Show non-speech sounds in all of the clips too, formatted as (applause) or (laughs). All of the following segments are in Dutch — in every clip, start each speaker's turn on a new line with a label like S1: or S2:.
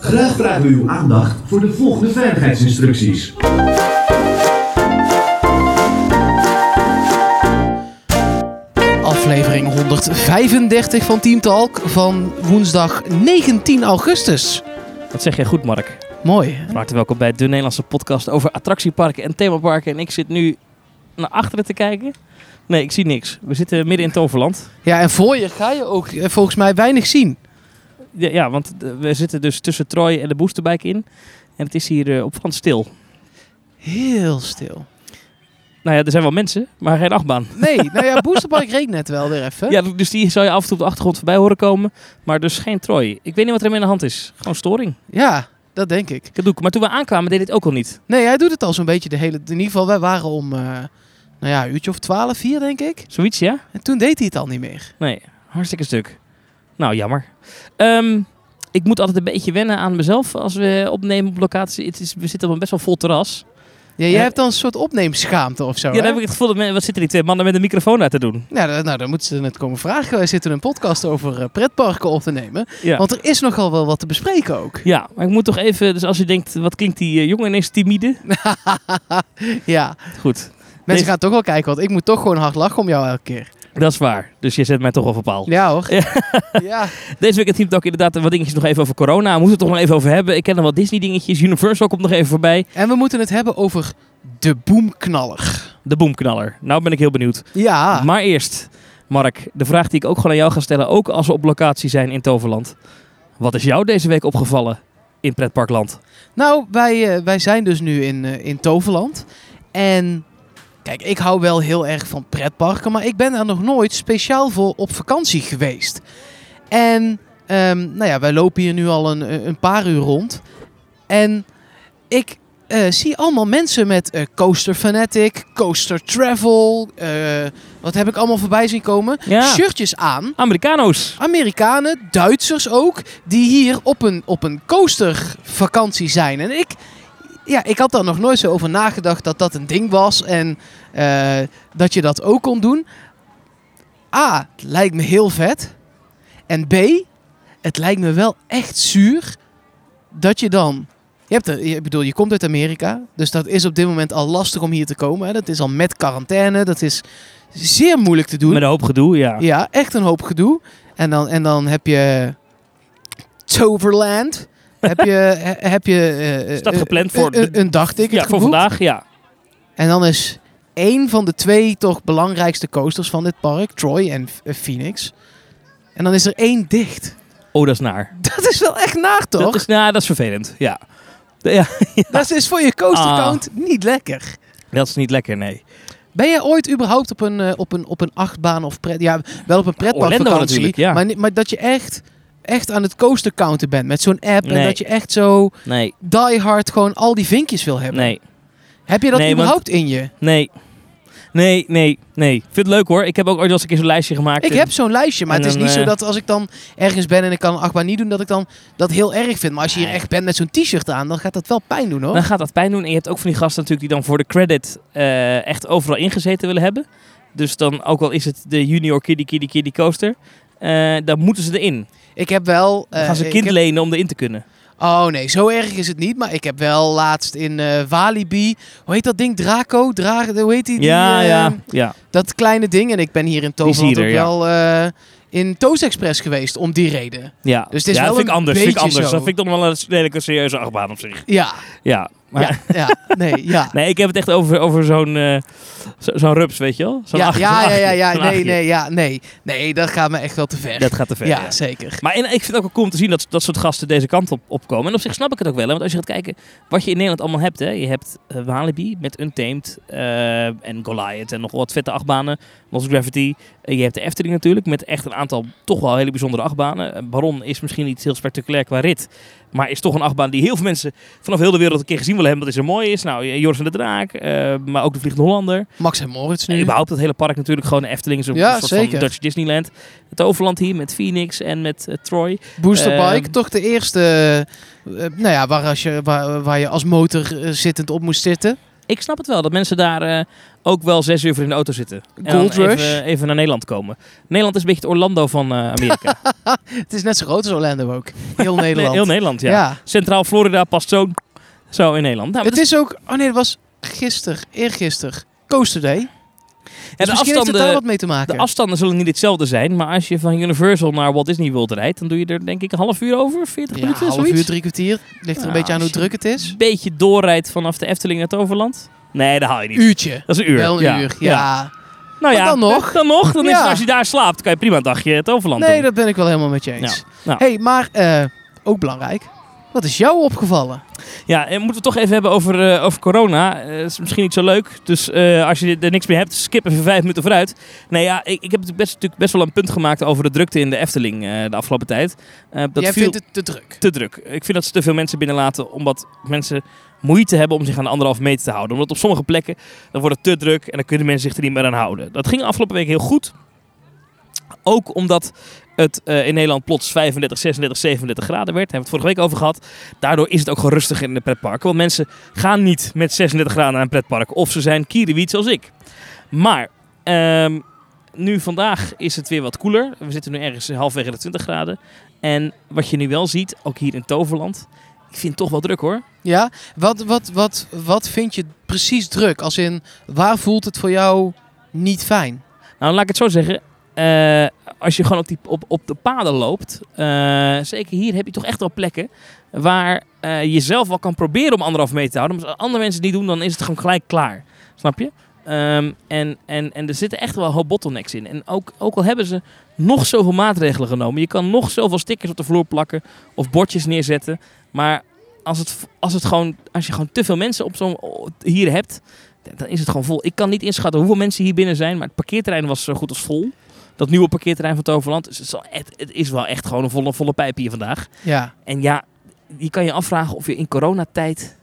S1: Graag vragen we uw aandacht voor de volgende veiligheidsinstructies.
S2: Aflevering 135 van Team Talk van woensdag 19 augustus.
S3: Dat zeg jij goed, Mark.
S2: Mooi. hè?
S3: Van harte welkom bij de Nederlandse podcast over attractieparken en themaparken. En ik zit nu naar achteren te kijken. Nee, ik zie niks. We zitten midden in Toverland.
S2: Ja, en voor je ga je ook eh, volgens mij weinig zien.
S3: Ja, ja, want eh, we zitten dus tussen Troy en de Boosterbike in. En het is hier eh, op van stil.
S2: Heel stil.
S3: Nou ja, er zijn wel mensen, maar geen achtbaan. (laughs)
S2: Nee, nou ja, Boosterpark reed net wel weer even.
S3: Ja, dus die zou je af en toe op de achtergrond voorbij horen komen. Maar dus geen Troy. Ik weet niet wat er mee aan de hand is. Gewoon storing.
S2: Ja, dat denk ik.
S3: Kadoek. Maar toen we aankwamen deed dit ook al niet.
S2: Nee, hij doet het al zo'n beetje de hele... In ieder geval, wij waren om, eh, nou ja, een uurtje of 12, 4 denk ik.
S3: Zoiets, ja?
S2: En toen deed hij het al niet meer.
S3: Nee, hartstikke stuk. Nou, jammer. Ehm, ik moet altijd een beetje wennen aan mezelf als we opnemen op locatie. Het is, we zitten op een best wel vol terras.
S2: Ja, jij
S3: Ja.
S2: hebt dan een soort opneemschaamte of zo,
S3: ja, dan
S2: Oh, hè?
S3: heb ik het gevoel dat men- wat zitten die twee mannen met een microfoon daar te doen?
S2: Nou, dan- nou, dan moeten ze net komen vragen. Wij zitten een podcast over eh, pretparken op te nemen.
S3: Ja.
S2: Want er is nogal wel wat te bespreken ook.
S3: ja, maar ik moet toch even. Dus als je denkt, wat klinkt die eh, jongen ineens timide?
S2: Ja,
S3: Goed,
S2: mensen
S3: Deze-
S2: gaan toch wel kijken, want ik moet toch gewoon hard lachen om jou elke keer.
S3: dat is waar. Dus je zet mij toch op een paal.
S2: Ja hoor.
S3: Ja.
S2: Ja,
S3: Deze week het team ook inderdaad wat dingetjes nog even over corona. We moeten het toch nog even over hebben. Ik ken nog wat Disney dingetjes. Universal komt nog even voorbij.
S2: en we moeten het hebben over de boemknaller.
S3: De boomknaller. Nou ben ik heel benieuwd.
S2: Ja,
S3: Maar eerst, Mark, de vraag die ik ook gewoon aan jou ga stellen, ook als we op locatie zijn in Toverland. Wat is jou deze week opgevallen in pretparkland?
S2: nou, wij, eh, wij zijn dus nu in, eh, in Toverland. En kijk, ik hou wel heel erg van pretparken, maar ik ben er nog nooit speciaal voor op vakantie geweest. En ehm, nou ja, wij lopen hier nu al een, een paar uur rond. En ik eh, zie allemaal mensen met eh, Coaster Fanatic, Coaster Travel. eh, wat heb ik allemaal voorbij zien komen?
S3: Ja.
S2: Shirtjes aan.
S3: Americano's.
S2: Amerikanen, Duitsers ook, die hier op een, op een coastervakantie zijn. En ik, ja, ik had daar nog nooit zo over nagedacht dat dat een ding was en eh, dat je dat ook kon doen. A, het lijkt me heel vet. En B, het lijkt me wel echt zuur dat je dan... Je hebt er, ik bedoel, je komt uit Amerika, dus dat is op dit moment al lastig om hier te komen. Hè. Dat is al met quarantaine, dat is zeer moeilijk te doen.
S3: Met een hoop gedoe, ja.
S2: Ja, echt een hoop gedoe. En dan, en dan heb je Toverland. heb
S3: (laughs)
S2: je, he- heb je eh, eh,
S3: Is dat
S2: eh,
S3: gepland voor
S2: een,
S3: de-
S2: een, een dagticket
S3: Ja, voor
S2: geboekt.
S3: vandaag, ja.
S2: En dan is één van de twee toch belangrijkste coasters van dit park, Troy en eh, Phoenix. En dan is er één dicht. (laughs)
S3: Oh, dat is naar.
S2: Dat is wel echt naar, toch?
S3: Dat is, nou, dat is vervelend, ja. ja. Ah.
S2: voor je coastercount
S3: coastercount
S2: niet lekker.
S3: Dat is niet lekker, nee.
S2: Ben jij ooit überhaupt op een, eh, op een, op een achtbaan of pret... Ja, wel op een
S3: Orlando
S2: pretparkvakantie.
S3: natuurlijk, ja.
S2: maar, ni- maar dat je echt, echt aan het coastercounten bent met zo'n app. En
S3: Nee.
S2: dat je echt zo...
S3: Nee,
S2: die hard gewoon al die vinkjes wil hebben.
S3: nee,
S2: Heb je dat
S3: Nee, want-
S2: überhaupt in je?
S3: nee. Nee, nee, nee. Ik vind het leuk hoor. Ik heb ook ooit wel eens een keer zo'n lijstje gemaakt.
S2: Ik
S3: En-
S2: heb zo'n lijstje, maar
S3: en
S2: het is
S3: dan,
S2: niet zo
S3: eh,
S2: dat als ik dan ergens ben en ik kan een achtbaan niet doen, dat ik dan dat heel erg vind. Maar als je hier
S3: Nee.
S2: echt bent met zo'n t-shirt aan, dan gaat dat wel pijn doen
S3: (laughs)
S2: hoor.
S3: Dan gaat dat pijn doen. En je hebt ook van die gasten natuurlijk die dan voor de credit eh, echt overal ingezeten willen hebben. Dus dan, ook al is het de junior kiddie kiddie kiddie coaster, eh, dan moeten ze erin.
S2: Ik heb wel...
S3: Dan
S2: eh,
S3: gaan ze een
S2: ik
S3: kind
S2: heb-
S3: lenen om erin te kunnen.
S2: Oh nee, zo erg is het niet. Maar ik heb wel laatst in eh, Walibi... Hoe heet dat ding? Draco? Dra hoe heet die? die,
S3: ja,
S2: eh,
S3: ja, ja.
S2: Dat kleine ding. En ik ben hier in Toverland
S3: zie
S2: ook
S3: je er,
S2: wel eh, in Toast Express geweest om die reden.
S3: ja.
S2: dus het is
S3: ja,
S2: wel
S3: dat vind ik
S2: een
S3: anders. Vind ik
S2: beetje
S3: anders.
S2: zo.
S3: Dat vind ik dan wel een redelijk een serieuze achtbaan op zich.
S2: Ja,
S3: Ja. Maar,
S2: ja, ja, nee, ja.
S3: (laughs) Nee, ik heb het echt over, over zo'n eh, zo- zo'n rups, weet je wel? (laughs) Zo'n
S2: ja,
S3: acht-
S2: ja,
S3: zo'n
S2: ja, ja,
S3: achtje,
S2: ja,
S3: zo'n
S2: nee,
S3: achtje.
S2: nee, ja, nee. Nee, dat gaat me echt wel te ver.
S3: Dat gaat te ver.
S2: ja,
S3: ja.
S2: zeker.
S3: Maar en, ik vind het ook wel cool om te zien dat dat soort gasten deze kant op opkomen. En op zich snap ik het ook wel. hè, Want als je gaat kijken wat je in Nederland allemaal hebt. Hè, je hebt eh, Walibi met Untamed eh, en Goliath en nog wat vette achtbanen. Lost Gravity. Eh, je hebt de Efteling natuurlijk met echt een aantal toch wel hele bijzondere achtbanen. Eh, Baron is misschien niet heel spectaculair qua rit. Maar is toch een achtbaan die heel veel mensen vanaf heel de wereld een keer gezien willen hebben. Dat is er mooi is. Nou, eh, Joris van de Draak. eh, maar ook de Vliegende Hollander.
S2: Max en Moritz nu.
S3: En überhaupt dat hele park natuurlijk gewoon de Efteling. is een
S2: Ja,
S3: soort
S2: zeker.
S3: van Dutch Disneyland. Het overland hier met Phoenix en met eh, Troy.
S2: Boosterbike,
S3: Ehm,
S2: toch de eerste eh, nou ja, waar, als je, waar, waar je als motor eh, zittend eh, op moest zitten.
S3: ik snap het wel dat mensen daar eh, ook wel zes uur voor in de auto zitten. En dan
S2: Gold Rush.
S3: Even, even naar Nederland komen. Nederland is een beetje het Orlando
S2: (laughs)
S3: van eh, Amerika.
S2: Het is net zo groot als Orlando ook.
S3: (laughs)
S2: Heel Nederland.
S3: Heel Nederland, ja.
S2: ja.
S3: Centraal Florida past zo, zo in Nederland. Nou,
S2: het is ook... Oh nee, dat was gisteren, eergisteren. Coaster Day. Dus
S3: en de
S2: misschien heeft het daar
S3: afstanden,
S2: wat mee te maken.
S3: de afstanden zullen niet hetzelfde zijn. Maar als je van Universal naar Walt Disney World rijdt, dan doe je er denk ik een half uur over, 40
S2: ja,
S3: minuten,
S2: half
S3: zoiets.
S2: uur, drie kwartier. Ligt er
S3: Ja,
S2: een beetje aan hoe
S3: als je-
S2: druk het is.
S3: Een beetje doorrijdt vanaf de Efteling naar het Overland. Nee, dat haal je niet.
S2: Uurtje.
S3: Dat is een uur.
S2: Wel een uur, ja.
S3: Nou
S2: Maar
S3: ja,
S2: dan nog.
S3: Dan nog. Dan is
S2: Ja.
S3: het, als je daar slaapt, kan je prima een dagje het Overland
S2: Nee,
S3: doen.
S2: dat ben ik wel helemaal met je eens.
S3: nou.
S2: hey, maar eh, ook belangrijk. Wat is jou opgevallen?
S3: Ja, en moeten we het toch even hebben over, eh, over corona. Eh, is misschien niet zo leuk. Dus eh, als je er niks meer hebt, skip even vijf minuten vooruit. Nee, ja, ik, ik heb natuurlijk best, natuurlijk best wel een punt gemaakt over de drukte in de Efteling eh, de afgelopen tijd. Eh, dat
S2: Jij
S3: viel
S2: vindt het te druk.
S3: te druk. Ik vind dat ze te veel mensen binnenlaten, omdat mensen moeite hebben om zich aan de anderhalf meter te houden. Omdat op sommige plekken, dan wordt het te druk en dan kunnen mensen zich er niet meer aan houden. Dat ging afgelopen week heel goed. Ook omdat het eh, in Nederland plots 35, 36, 37 graden werd. Daar hebben we het vorige week over gehad. Daardoor is het ook gewoon rustiger in de pretparken. Want mensen gaan niet met 36 graden naar een pretpark. Of ze zijn kierenwiet zoals ik. Maar ehm, nu vandaag is het weer wat koeler. We zitten nu ergens halfwege de 20 graden. En wat je nu wel ziet, ook hier in Toverland. Ik vind het toch wel druk hoor.
S2: Ja? Wat, wat, wat, wat vind je precies druk? Als in, waar voelt het voor jou niet fijn?
S3: Nou, laat ik het zo zeggen. eh, als je gewoon op, die, op, op de paden loopt. eh, zeker hier heb je toch echt wel plekken. Waar eh, je zelf wel kan proberen om anderhalf meter te houden. Maar als andere mensen het niet doen, dan is het gewoon gelijk klaar. Snap je? Ehm, en, en, en er zitten echt wel een hoop bottlenecks in. En ook, ook al hebben ze nog zoveel maatregelen genomen. Je kan nog zoveel stickers op de vloer plakken. Of bordjes neerzetten. Maar als, het, als, het gewoon, als je gewoon te veel mensen op zo'n hier hebt. dan- dan is het gewoon vol. Ik kan niet inschatten hoeveel mensen hier binnen zijn. Maar het parkeerterrein was zo goed als vol. Dat nieuwe parkeerterrein van Toverland. Dus het, is wel echt- het is wel echt gewoon een volle, volle pijp hier vandaag.
S2: Ja.
S3: En ja, je kan je afvragen of je in coronatijd.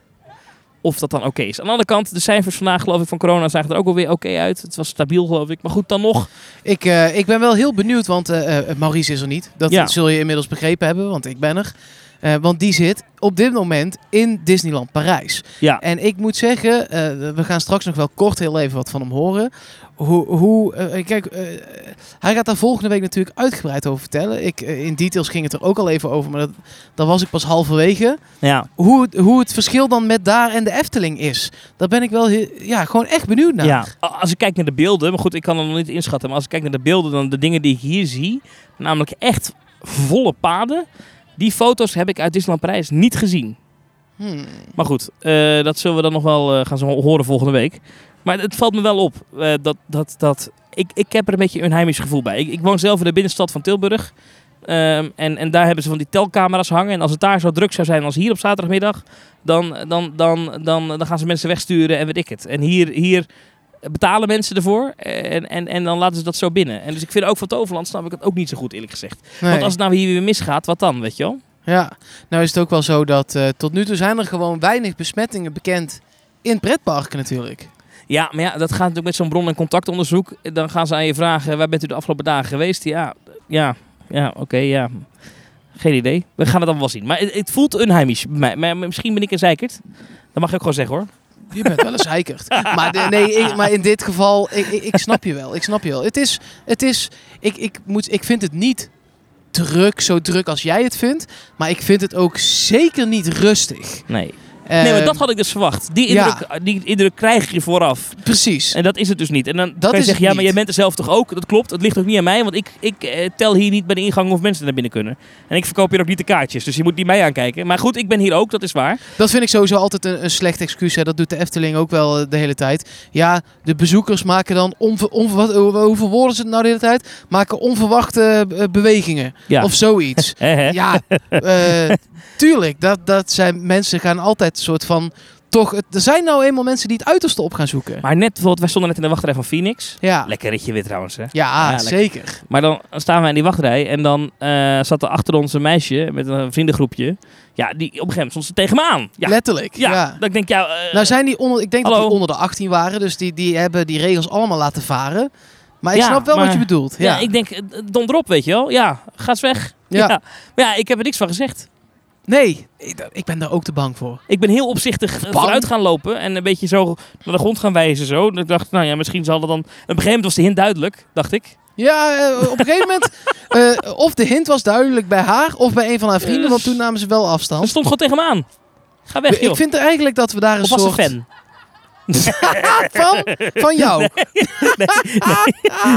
S3: Of dat dan oké is. Aan de andere kant, de cijfers vandaag geloof ik van corona zagen er ook alweer oké uit. Het was stabiel geloof ik. Maar goed, dan nog.
S2: Ik, eh, ik ben wel heel benieuwd, want eh, eh, Maurice is er niet. Dat
S3: Ja.
S2: zul je inmiddels begrepen hebben, want ik ben er. Eh, want die zit op dit moment in Disneyland Parijs.
S3: Ja.
S2: En ik moet zeggen, eh, we gaan straks nog wel kort heel even wat van hem horen. Hoe, hoe eh, kijk, eh, hij gaat daar volgende week natuurlijk uitgebreid over vertellen. Ik, eh, in details ging het er ook al even over, maar dat, daar was ik pas halverwege.
S3: ja.
S2: Hoe, het- hoe het verschil dan met daar en de Efteling is. Daar ben ik wel heel- ja, gewoon echt benieuwd naar.
S3: Ja, a- als ik kijk naar de beelden, maar goed, ik kan het nog niet inschatten, maar als ik kijk naar de beelden, dan de dingen die ik hier zie, namelijk echt volle paden, die foto's heb ik uit Disneyland Parijs niet gezien.
S2: Hmm.
S3: Maar goed, eh, dat zullen we dan nog wel eh, gaan zo horen volgende week. Maar het valt me wel op eh, dat, dat, dat ik, ik heb er een beetje een heimisch gevoel bij. Ik, ik woon zelf in de binnenstad van Tilburg. Ehm, en, en daar hebben ze van die telcamera's hangen. En als het daar zo druk zou zijn als hier op zaterdagmiddag, dan, dan, dan, dan, dan gaan ze mensen wegsturen en weet ik het. En hier, hier betalen mensen ervoor eh, en, en, en dan laten ze dat zo binnen. En dus ik vind ook van Toverland snap ik het ook niet zo goed eerlijk gezegd.
S2: Nee.
S3: Want als het nou hier weer misgaat, wat dan, weet je wel?
S2: Ja, nou is het ook wel zo dat eh, tot nu toe zijn er gewoon weinig besmettingen bekend in pretparken natuurlijk.
S3: Ja, maar ja, dat gaat natuurlijk met zo'n bron- en contactonderzoek. Dan gaan ze aan je vragen, waar bent u de afgelopen dagen geweest? Ja, ja, ja, oké, ja. Geen idee. We gaan het dan wel zien. Maar het, het voelt unheimisch. bij mij. Maar misschien ben ik een zeikert. Dat mag ik ook gewoon zeggen hoor.
S2: Je bent wel eens heikerd. Maar, de- nee, ik- maar in dit geval, ik, ik, ik snap je wel. Ik snap je wel. Het is, het is ik, ik, moet, ik vind het niet druk, zo druk als jij het vindt. Maar ik vind het ook zeker niet rustig.
S3: Nee. nee, maar
S2: Eh,
S3: dat had ik dus verwacht. Die
S2: ja.
S3: indruk, die indruk krijg je vooraf.
S2: Precies.
S3: En dat is het dus niet. En dan
S2: is
S3: kan je
S2: het
S3: zeggen, ja, maar
S2: niet.
S3: jij bent er zelf toch ook? Dat klopt, dat ligt ook niet aan mij. Want ik, ik eh, tel hier niet bij de ingang of mensen naar binnen kunnen. En ik verkoop hier ook niet de kaartjes. Dus je moet niet mij aankijken. Maar goed, ik ben hier ook, dat is waar.
S2: Dat vind ik sowieso altijd een, een slecht excuus. Hè. Dat doet de Efteling ook wel eh, de hele tijd. Ja, de bezoekers maken dan, onver, onver, wat, hoe- hoeveel woorden ze het nou de hele tijd? Maken onverwachte eh, bewegingen
S3: Ja.
S2: of zoiets.
S3: Hè, hè?
S2: ja,
S3: (laughs)
S2: eh, tuurlijk. Dat, dat zijn mensen gaan altijd een soort van toch. Het, er zijn nou eenmaal mensen die het uiterste op gaan zoeken.
S3: Maar net bijvoorbeeld, wij stonden net in de wachtrij van Phoenix.
S2: Ja,
S3: Lekker ritje weer trouwens, hè?
S2: ja,
S3: lekker.
S2: zeker.
S3: Maar dan staan wij in die wachtrij en dan eh, zat er achter ons een meisje met een vriendengroepje. Ja, die op een gegeven moment stond ze tegen me aan. Ja,
S2: Letterlijk.
S3: ja,
S2: Ja.
S3: dat ik denk, ja... eh,
S2: Nou zijn die onder, ik denk dat
S3: hallo.
S2: die onder de 18 waren, dus die, die hebben die regels allemaal laten varen. Maar ik
S3: Ja,
S2: snap wel
S3: maar-
S2: wat je bedoelt.
S3: ja. ik denk, eh, donder op, weet je wel. Ja, ga eens weg.
S2: Ja.
S3: Maar ja, ik heb er niks van gezegd.
S2: Nee, ik, ik ben daar ook te bang voor.
S3: Ik ben heel opzichtig eh,
S2: Bang.
S3: vooruit gaan lopen en een beetje zo naar de grond gaan wijzen. Zo. En ik dacht, nou ja, misschien zal dat dan... En op een gegeven moment was de hint duidelijk, dacht ik.
S2: Ja, eh, op een gegeven moment. (laughs) eh, of de hint was duidelijk bij haar of bij een van haar vrienden, want toen namen ze wel
S3: Ze
S2: afstand.
S3: stond gewoon tegen me aan. Ga weg, joh.
S2: Ik vind er eigenlijk dat we daar een
S3: of was
S2: soort
S3: ze fan?
S2: van van
S3: (laughs)
S2: jou.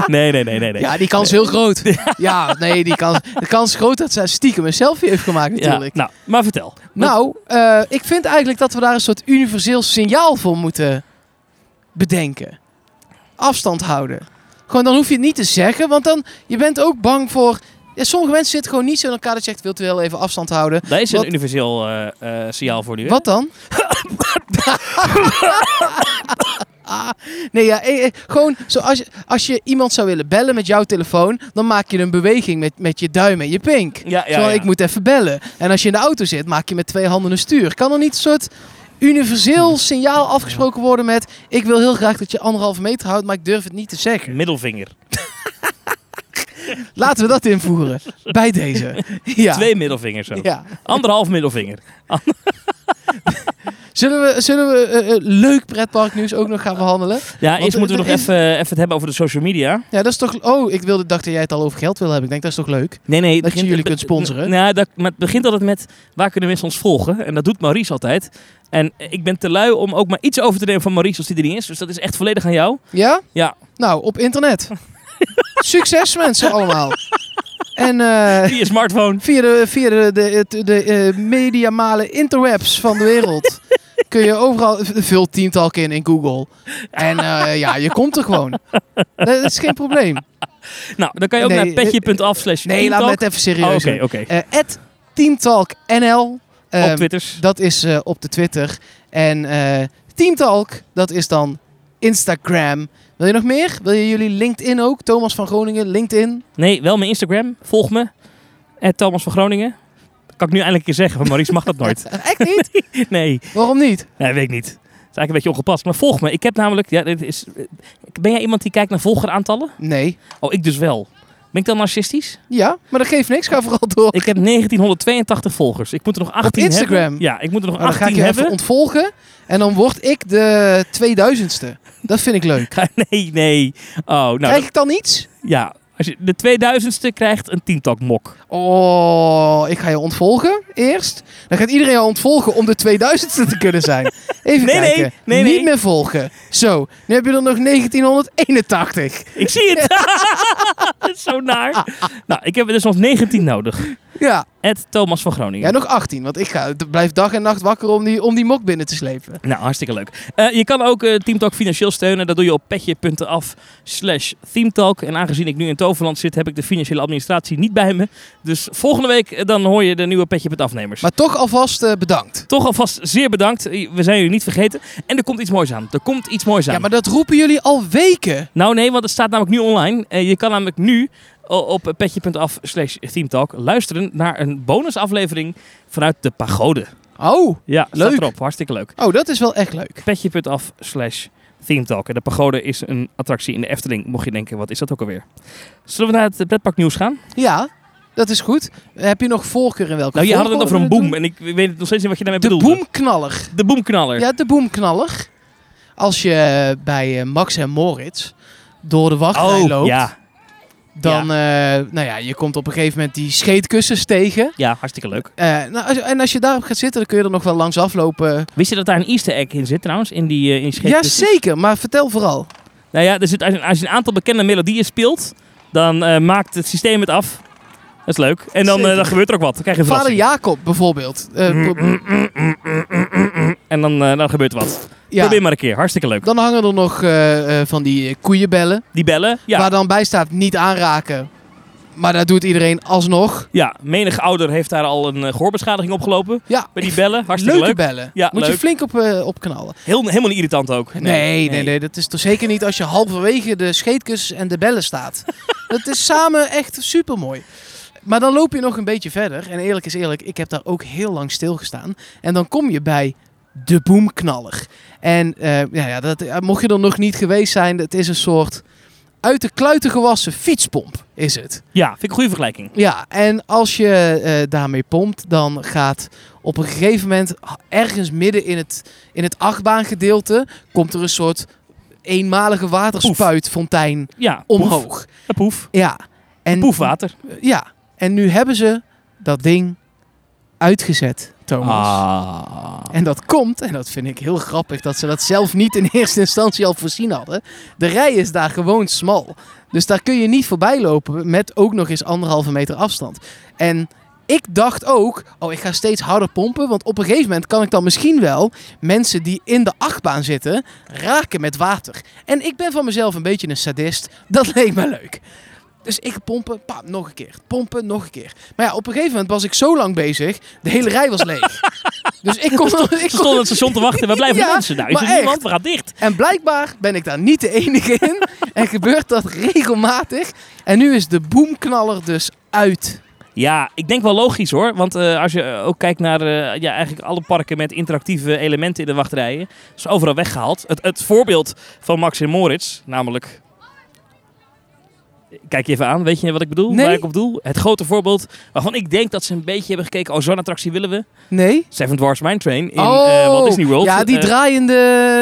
S3: Nee, nee, nee, nee. nee.
S2: Ah. Ja, die kans is heel groot. (laughs) Ja, nee, die kans, de kans is groot dat zij stiekem een selfie heeft gemaakt
S3: Ja,
S2: natuurlijk.
S3: nou, maar vertel.
S2: Nou, eh, ik vind eigenlijk dat we daar een soort universeel signaal voor moeten bedenken. Afstand houden. Gewoon, dan hoef je het niet te zeggen, want dan, je bent ook bang voor... Ja, sommige mensen zitten gewoon niet zo in elkaar dat je zegt, wilt u wel even afstand houden?
S3: Dat is
S2: Wat-
S3: een universeel eh, eh, signaal voor nu. hè?
S2: Wat dan? Ah, nee, ja, eh, eh, gewoon zoals je, als je iemand zou willen bellen met jouw telefoon, dan maak je een beweging met, met je duim en je pink.
S3: Ja, ja,
S2: Zo,
S3: ja.
S2: ik moet even bellen. En als je in de auto zit, maak je met twee handen een stuur. Kan er niet een soort universeel signaal afgesproken worden met... ik wil heel graag dat je anderhalve meter houdt, maar ik durf het niet te zeggen.
S3: Middelvinger.
S2: Laten we dat
S3: (laughs)
S2: invoeren. Bij deze. Ja.
S3: Twee middelvingers zo.
S2: Ja.
S3: Anderhalf middelvinger.
S2: Zullen we, zullen we eh, eh, leuk pretparknieuws ook nog gaan behandelen?
S3: Ja,
S2: Want,
S3: eerst moeten we
S2: eh,
S3: nog
S2: er is-
S3: even, even het hebben over de social media.
S2: Ja, dat is toch... Oh, ik wilde, dacht dat jij het al over geld wilde hebben. Ik denk, dat is toch leuk?
S3: Nee, nee. het
S2: Dat je
S3: begint-
S2: jullie
S3: het-
S2: kunt sponsoren.
S3: Nou, dat, maar het begint altijd met waar kunnen mensen ons volgen? En dat doet Maurice altijd. En ik ben te lui om ook maar iets over te nemen van Maurice als die er niet is. Dus dat is echt volledig aan jou.
S2: Ja?
S3: Ja.
S2: Nou, op internet. Succes mensen allemaal. En eh,
S3: Via
S2: (laughs)
S3: smartphone.
S2: via de, via de, de, de, de eh, mediamale interwebs van de wereld kun je overal... Vul Teamtalk in in Google. En eh, ja, je komt er gewoon. Dat is geen probleem.
S3: Nou, dan kan je ook
S2: Nee, eh,
S3: naar petje.af slash
S2: Nee, laat me
S3: teamtalk.
S2: het even
S3: Oh, Oké,
S2: serieus
S3: oké.
S2: doen. Eh, at Teamtalk NL.
S3: Op
S2: Ehm,
S3: Twitters.
S2: dat is eh, op de Twitter. En eh Teamtalk, dat is dan Instagram. Wil je nog meer? Wil je jullie LinkedIn ook? Thomas van Groningen, LinkedIn.
S3: Nee, wel mijn Instagram. Volg me. At Thomas van Groningen. Dat kan ik nu eindelijk een keer zeggen, maar Maurice mag dat
S2: (laughs)
S3: nooit.
S2: Eh, Echt
S3: (laughs)
S2: niet?
S3: Nee,
S2: Waarom niet?
S3: nee weet ik niet. Het is eigenlijk een beetje ongepast. Maar volg me. Ik heb namelijk... Ja, dit is, ben jij iemand die kijkt naar volgeraantallen?
S2: Nee.
S3: Oh, ik dus wel. Ben ik dan narcistisch?
S2: Ja, maar dat geeft niks. Ga vooral door.
S3: Ik heb 1982 volgers. Ik moet er nog 18
S2: Instagram?
S3: hebben. Ja, ik moet er nog
S2: Nou, dan
S3: 18
S2: ga ik je
S3: hebben.
S2: even ontvolgen. En dan word ik de 2000ste. Dat vind ik leuk.
S3: (laughs) nee, nee. Oh, nou
S2: Krijg ik dan iets?
S3: dat- ja. Als je de 2000ste krijgt een tientak mok.
S2: Oh, ik ga je ontvolgen eerst. Dan gaat iedereen jou ontvolgen om de 2000ste te kunnen
S3: (laughs)
S2: zijn. Even
S3: Nee, nee,
S2: kijken.
S3: nee, nee.
S2: Niet meer volgen. Zo, nu heb je er nog 1981.
S3: Ik zie het.
S2: (laughs)
S3: Dat is (laughs) zo naar. Nou, ik heb er dus nog 19 nodig.
S2: Ja,
S3: Ed Thomas van Groningen.
S2: ja nog 18. Want ik ga, d- blijf dag en nacht wakker om die, om die mok binnen te slepen.
S3: Nou, hartstikke leuk. Eh, je kan ook eh Team Talk financieel steunen. Dat doe je op petje.af slash teamtalk. En aangezien ik nu in Toverland zit, heb ik de financiële administratie niet bij me. Dus volgende week eh, dan hoor je de nieuwe petje.afnemers.
S2: Maar toch alvast eh, bedankt.
S3: Toch alvast zeer bedankt. Eh, We zijn jullie niet vergeten. En er komt iets moois aan. Er komt iets moois aan.
S2: Ja, maar dat roepen jullie al weken.
S3: Nou nee, want het staat namelijk nu online. Eh, je kan namelijk nu o- op petje.af slash teamtalk luisteren naar een bonusaflevering vanuit de pagode.
S2: Oh,
S3: Ja,
S2: Leuk.
S3: staat erop. Hartstikke leuk.
S2: oh dat is wel echt leuk.
S3: petje.af slash themetalk. En de pagode is een attractie in de Efteling. Mocht je denken, wat is dat ook alweer? Zullen we naar het pretparknieuws gaan?
S2: Ja, dat is goed. Heb je nog voorkeur in welke
S3: Nou, je had het
S2: volgorde
S3: over een
S2: we
S3: boom.
S2: doen?
S3: En ik weet nog steeds niet wat je daarmee
S2: De
S3: bedoelde.
S2: boomknaller.
S3: De boomknaller.
S2: Ja, de boomknaller. Als je eh, bij eh, Max en Moritz door de wachtrij
S3: oh,
S2: loopt,
S3: ja.
S2: dan, eh, nou ja, je komt op een gegeven moment die scheetkussens tegen.
S3: ja, hartstikke leuk.
S2: Eh, nou, als- en als je daarop gaat zitten, dan kun je er nog wel langs aflopen.
S3: Wist je dat daar een easter egg in zit trouwens? In die, eh, in die
S2: Ja,
S3: scheepjes?
S2: zeker. Maar vertel vooral.
S3: Nou ja, er zit, als, je, als je een aantal bekende melodieën speelt, dan eh, maakt het systeem het af. Dat is leuk. En dan, eh,
S2: Zeker.
S3: dan gebeurt er ook wat. Dan krijg je een
S2: Vader
S3: verrassing. Mm,
S2: Jacob bijvoorbeeld. Eh, pro-
S3: En dan, eh, dan gebeurt er wat.
S2: ja,
S3: Probeer maar een keer. Hartstikke leuk.
S2: dan hangen er nog eh, eh, van die eh, koeienbellen.
S3: Die bellen. Ja,
S2: Waar dan bij staat niet aanraken. Maar dat doet iedereen alsnog.
S3: ja menig ouder heeft daar al een eh, gehoorbeschadiging opgelopen.
S2: Ja,
S3: Bij die bellen. Hartstikke
S2: leuke
S3: leuk.
S2: bellen.
S3: Ja,
S2: Moet je
S3: leuk.
S2: flink op, eh, op knallen.
S3: Heel, helemaal niet irritant ook.
S2: Nee nee, nee, Dat is toch zeker niet als je halverwege de scheetkussens en de bellen staat. dat is samen echt supermooi. Maar dan loop je nog een beetje verder. En eerlijk is eerlijk, ik heb daar ook heel lang stilgestaan. En dan kom je bij de boomknaller. En eh, ja, ja, dat, eh, mocht je er nog niet geweest zijn, het is een soort uit de kluiten gewassen fietspomp is het.
S3: Ja, vind ik een goede vergelijking.
S2: Ja, en als je eh, daarmee pompt, dan gaat op een gegeven moment h- ergens midden in het, in het achtbaangedeelte komt er een soort eenmalige waterspuitfontein
S3: Ja,
S2: omhoog.
S3: Poef. Een poef.
S2: Ja. En,
S3: Poefwater.
S2: Ja. En nu hebben ze dat ding uitgezet, Thomas.
S3: Ah.
S2: Oh. En dat komt, en dat vind ik heel grappig, dat ze dat zelf niet in (laughs) eerste instantie al voorzien hadden. De rij is daar gewoon smal. Dus daar kun je niet voorbij lopen met ook nog eens anderhalve meter afstand. En ik dacht ook, oh ik ga steeds harder pompen, want op een gegeven moment kan ik dan misschien wel mensen die in de achtbaan zitten raken met water. En ik ben van mezelf een beetje een sadist, dat (laughs) leek me leuk. Dus ik pompen, pa, nog een keer. Pompen, nog een keer. Maar ja, op een gegeven moment was ik zo lang bezig, de hele rij was
S3: (laughs)
S2: leeg. dus ik kon... (laughs) Ik
S3: Ze
S2: kon
S3: stonden aan het station te wachten. We blijven
S2: Ja,
S3: mensen. Nou, is
S2: maar
S3: er
S2: echt.
S3: niemand? We gaan dicht.
S2: en blijkbaar ben ik daar niet de enige in. en gebeurt dat regelmatig. En nu is de boomknaller dus uit.
S3: Ja, ik denk wel logisch hoor. Want eh, als je eh, ook kijkt naar eh, ja, eigenlijk alle parken met interactieve elementen in de wachtrijen. is overal weggehaald. Het, het voorbeeld van Max en Moritz, namelijk... Kijk je even aan, weet je wat ik bedoel?
S2: Nee.
S3: Waar ik op doel? Het grote voorbeeld waarvan ik denk dat ze een beetje hebben gekeken. Oh, zo'n attractie willen we.
S2: Nee? Oh.
S3: Seven Dwarfs Mine Train in eh, Walt Disney World.
S2: Ja, die
S3: Eh,
S2: draaiende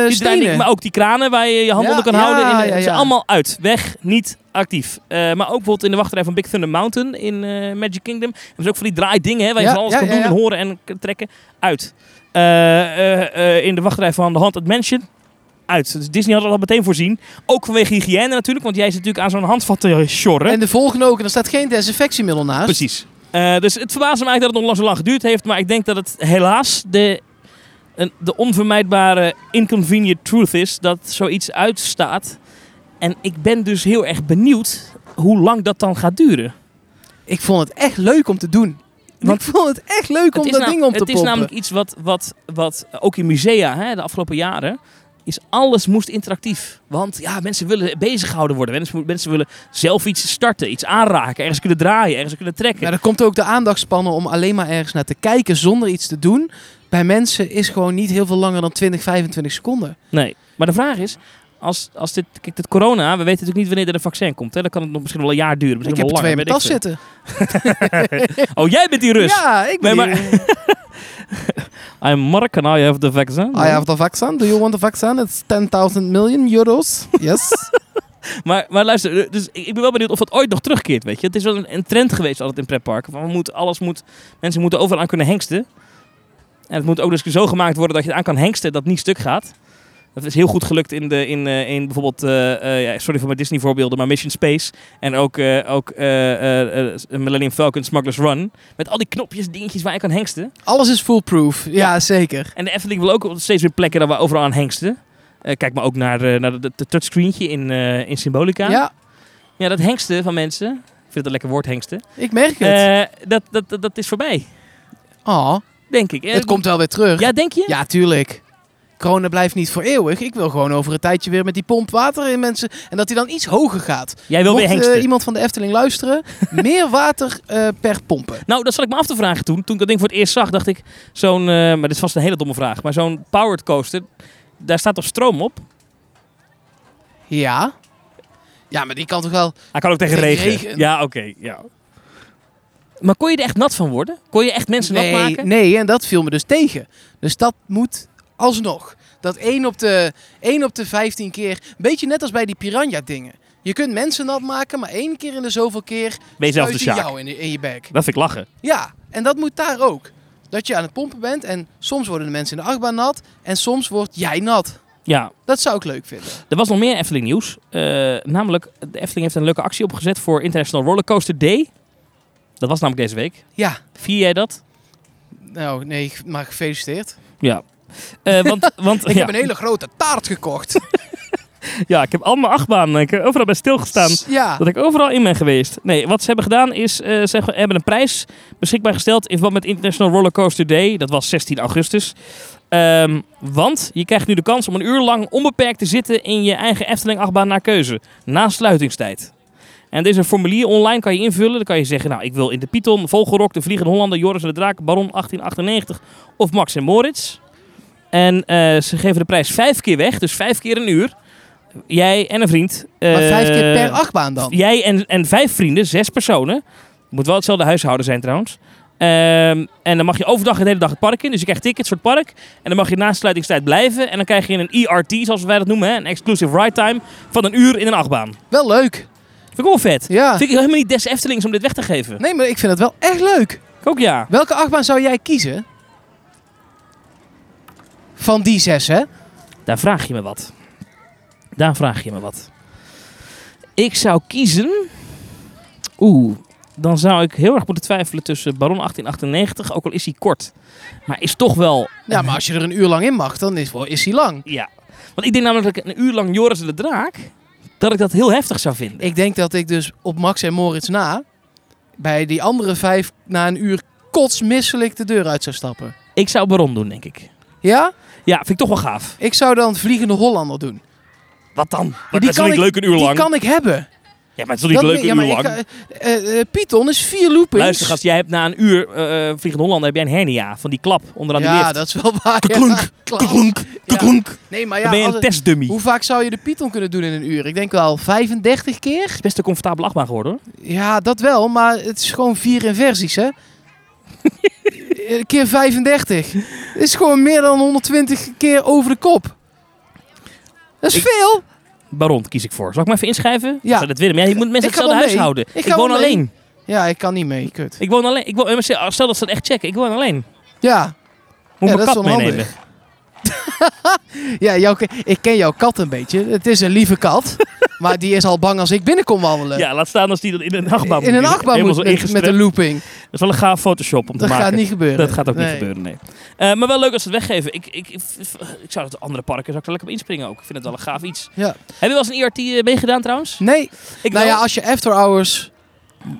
S3: die
S2: stenen.
S3: draaiing, maar ook die kranen waar je je hand
S2: eh, Ja,
S3: onder kan
S2: ja,
S3: houden. In, eh,
S2: ja,
S3: ze
S2: ja.
S3: allemaal uit, weg, niet actief. Eh, maar ook bijvoorbeeld in de wachtrij van Big Thunder Mountain in eh, Magic Kingdom. Dat is ook van die draaidingen hè, waar je
S2: Ja,
S3: van alles
S2: ja,
S3: kan
S2: ja,
S3: doen
S2: ja.
S3: en horen en k- trekken. Uit. Eh, eh, eh, in de wachtrij van The Haunted Mansion. Uit. Dus Disney had dat al meteen voorzien. Ook vanwege hygiëne natuurlijk, want jij zit natuurlijk aan zo'n eh, handvat te sjorren.
S2: En de volgende ook, en er staat geen desinfectiemiddel naast.
S3: Precies. Eh, dus het verbaasde me eigenlijk dat het nog lang- zo lang geduurd heeft. Maar ik denk dat het helaas de, een- de onvermijdbare inconvenient truth is dat zoiets uitstaat. En ik ben dus heel erg benieuwd hoe lang dat dan gaat duren.
S2: Ik vond het echt leuk om te doen.
S3: Want-
S2: Want ik vond het echt leuk om
S3: het is,
S2: dat
S3: nam-
S2: ding om te
S3: het
S2: pompen.
S3: is namelijk iets wat, wat, wat ook in musea hè, de afgelopen jaren. Is alles moest interactief. Want ja, mensen willen beziggehouden worden. Mensen, mensen willen zelf iets starten, iets aanraken, ergens kunnen draaien, ergens kunnen trekken.
S2: Maar er komt ook de aandachtspannen om alleen maar ergens naar te kijken zonder iets te doen. Bij mensen is gewoon niet heel veel langer dan 20, 25 seconden.
S3: Nee. Maar de vraag is, als, als dit, kijk, dit corona, we weten natuurlijk niet wanneer er een vaccin komt. Hè? Dan kan het nog misschien wel een jaar duren.
S2: ik
S3: Misschien
S2: heb er
S3: wel
S2: twee
S3: langer,
S2: met af
S3: weet ik
S2: zitten.
S3: veel. Oh, jij bent die Rus.
S2: Ja, ik ben
S3: Nee,
S2: hier.
S3: I'm Mark and I have the vaccine.
S2: (laughs) I have the vaccine. Do you want the vaccine? It's 10.000 million euros. Yes.
S3: Maar, maar luister, dus ik ik ben wel benieuwd of dat ooit nog terugkeert, weet je. Het is wel een, een trend geweest altijd in pretparken. Van, we moeten, alles moet, mensen moeten overal aan kunnen hengsten. En het moet ook dus zo gemaakt worden dat je het aan kan hengsten dat het niet stuk gaat. Dat is heel goed gelukt in, de, in, eh, in bijvoorbeeld, eh, eh, ja, sorry voor mijn Disney voorbeelden, maar Mission Space. En ook, eh, ook eh, eh, eh, Millennium Falcon Smuggler's Run. Met al die knopjes, dingetjes waar je kan hengsten.
S2: (laughs) Alles is foolproof. Ja, zeker.
S3: En de Efteling wil ook steeds weer plekken waar we overal aan hengsten. Eh, kijk maar ook naar, eh, naar het touchscreentje in, eh, in Symbolica.
S2: Ja.
S3: Ja, dat hengsten van mensen. Ik vind het een lekker woord, hengsten.
S2: ik merk het.
S3: Eh, dat, dat, dat, dat is voorbij,
S2: oh,
S3: denk ik. Eh,
S2: het komt wel weer terug.
S3: Ja, denk je?
S2: (laughs) Ja, tuurlijk. Corona blijft niet voor eeuwig. Ik wil gewoon over een tijdje weer met die pomp water in mensen. En dat die dan iets hoger gaat.
S3: Jij wil
S2: Mocht,
S3: weer
S2: eh,
S3: hengsten.
S2: iemand van de Efteling
S3: (laughs)
S2: luisteren, meer water eh, per pompen.
S3: nou, dat zat ik me af te vragen toen. Toen ik dat ding voor het eerst zag, dacht ik... Zo'n, eh, maar dit is vast een hele domme vraag. Maar zo'n powered coaster, daar staat toch stroom op?
S2: Ja. Ja, maar die kan toch wel...
S3: Hij kan ook tegen
S2: Tegen
S3: regen.
S2: regen.
S3: Ja, oké. ja. Maar kon je er echt nat van worden? Kon je echt mensen nat
S2: Nee,
S3: maken?
S2: nee, en dat viel me dus tegen. Dus dat moet alsnog. Dat 1 op de, 1 op de 15 keer. Een beetje net als bij die piranha dingen. Je kunt mensen nat maken, maar één keer in de zoveel keer
S3: Ben je zelf de
S2: uit
S3: Sjaak?
S2: jou in, je- in je bek.
S3: Dat vind ik lachen.
S2: Ja, en dat moet daar ook. Dat je aan het pompen bent en soms worden de mensen in de achtbaan nat en soms word jij nat.
S3: Ja,
S2: Dat zou ik leuk vinden.
S3: Er was nog meer Efteling nieuws. Eh, namelijk, de Efteling heeft een leuke actie opgezet voor International Rollercoaster Day. Dat was namelijk deze week.
S2: Ja,
S3: Vier jij dat?
S2: nou nee, maar gefeliciteerd.
S3: Ja. Eh, want, want,
S2: (laughs) Ik
S3: ja.
S2: heb een hele grote taart
S3: (laughs)
S2: gekocht.
S3: ja, ik heb al mijn achtbanen. Ik heb overal bij stilgestaan.
S2: Ja.
S3: Dat ik overal in ben geweest. Nee, wat ze hebben gedaan is, eh, ze hebben een prijs beschikbaar gesteld in verband met International Rollercoaster Day. Dat was 16 augustus. Ehm, want je krijgt nu de kans om een uur lang onbeperkt te zitten in je eigen Efteling-achtbaan naar keuze. Na sluitingstijd. En deze formulier online kan je invullen. Dan kan je zeggen, nou ik wil in de Python, Vogelrok, de Vliegende Hollander, Joris en de Draak, Baron 1898 of Max en Moritz. En eh, ze geven de prijs vijf keer weg, dus vijf keer een uur. Jij en een vriend.
S2: Maar
S3: eh,
S2: vijf keer per achtbaan dan?
S3: Jij en, en vijf vrienden, zes personen. Moet wel hetzelfde huishouden zijn trouwens. Ehm, en dan mag je overdag de hele dag het park in. Dus je krijgt tickets voor het park. En dan mag je na sluitingstijd blijven. En dan krijg je een ERT, zoals wij dat noemen. Hè, een exclusive ride time van een uur in een achtbaan.
S2: Wel leuk.
S3: Vind ik wel vet.
S2: Ja.
S3: Vind ik helemaal niet des Eftelings om dit weg te geven.
S2: Nee, maar ik vind het wel echt leuk.
S3: Ik ook ja.
S2: Welke achtbaan zou jij kiezen? Van die zes, hè?
S3: Daar vraag je me wat. Daar vraag je me wat. Ik zou kiezen. Oeh, dan zou ik heel erg moeten twijfelen tussen Baron 1898, ook al is hij kort. Maar is toch wel.
S2: Ja, maar als je er een uur lang in mag, dan is, is hij lang.
S3: Ja. Want ik denk namelijk dat ik een uur lang Joris en de Draak. dat ik dat heel heftig zou vinden.
S2: Ik denk dat ik dus op Max en Moritz na, bij die andere vijf na een uur kotsmisselijk de deur uit zou stappen.
S3: Ik zou Baron doen, denk ik.
S2: Ja?
S3: Ja, vind ik toch wel gaaf.
S2: Ik zou dan Vliegende Hollander doen.
S3: Wat dan?
S2: die
S3: Maar dat is
S2: kan
S3: toch niet
S2: ik-
S3: leuk een uur
S2: Die
S3: lang.
S2: kan ik hebben.
S3: Ja, maar het is toch niet leuk een
S2: ja, maar
S3: uur
S2: ik
S3: lang.
S2: kan- eh, eh, Python is vier loopings.
S3: Luister, gast, jij hebt na een uur eh eh, Vliegende Hollander heb jij een hernia van die klap onderaan die
S2: Ja,
S3: lift.
S2: dat is wel waar.
S3: Kaklunk,
S2: ja. Klaar.
S3: Kaklonk,
S2: Ja.
S3: kaklonk.
S2: Nee, maar ja,
S3: Dan ben je
S2: als
S3: een
S2: het-
S3: testdummy.
S2: hoe vaak zou je de Python kunnen doen in een uur? Ik denk wel 35 keer.
S3: is best een comfortabele achtbaan geworden. hoor.
S2: Ja, dat wel, maar het is gewoon vier inversies,
S3: (laughs)
S2: hè? Eh, keer 35. Het is gewoon meer dan 120 keer over de kop. Dat is
S3: Ik-
S2: veel.
S3: Baron kies ik voor. Zal ik me even inschrijven?
S2: Ja.
S3: Ik zou dat willen. Maar ja, je moet mensen
S2: Ik ga
S3: hetzelfde
S2: wel
S3: huis
S2: mee.
S3: houden.
S2: Ik
S3: Ik,
S2: ga
S3: woon
S2: wel
S3: alleen.
S2: Ja, ik kan niet mee, kut.
S3: Ik woon alleen. Ik woon, eh, stel dat ze dat echt checken. Ik woon alleen.
S2: Ja,
S3: Moet
S2: Ja,
S3: mijn
S2: dat is
S3: kat
S2: onhandig.
S3: meenemen.
S2: (laughs) ja jouw, ke- ik ken jouw kat een beetje. Het is een lieve
S3: (laughs)
S2: kat, maar die is al bang als ik binnenkom wandelen.
S3: Ja, laat staan als die dan in een achtbaan
S2: in een
S3: moet.
S2: achtbaan
S3: Helemaal
S2: moet
S3: zo
S2: met, met
S3: ingestrept.
S2: een looping.
S3: Dat is wel een gaaf Photoshop om te
S2: Dat
S3: maken.
S2: gaat niet gebeuren.
S3: dat gaat ook niet
S2: Nee.
S3: gebeuren, nee. Eh, maar wel leuk als ze het weggeven. Ik, ik, ik, ik zou dat andere parken zou ik er lekker op inspringen ook. Ik vind het wel een gaaf iets.
S2: Ja.
S3: Heb je wel eens een IRT eh, meegedaan trouwens?
S2: Nee,
S3: Ik
S2: nou
S3: wel.
S2: ja, als je after hours...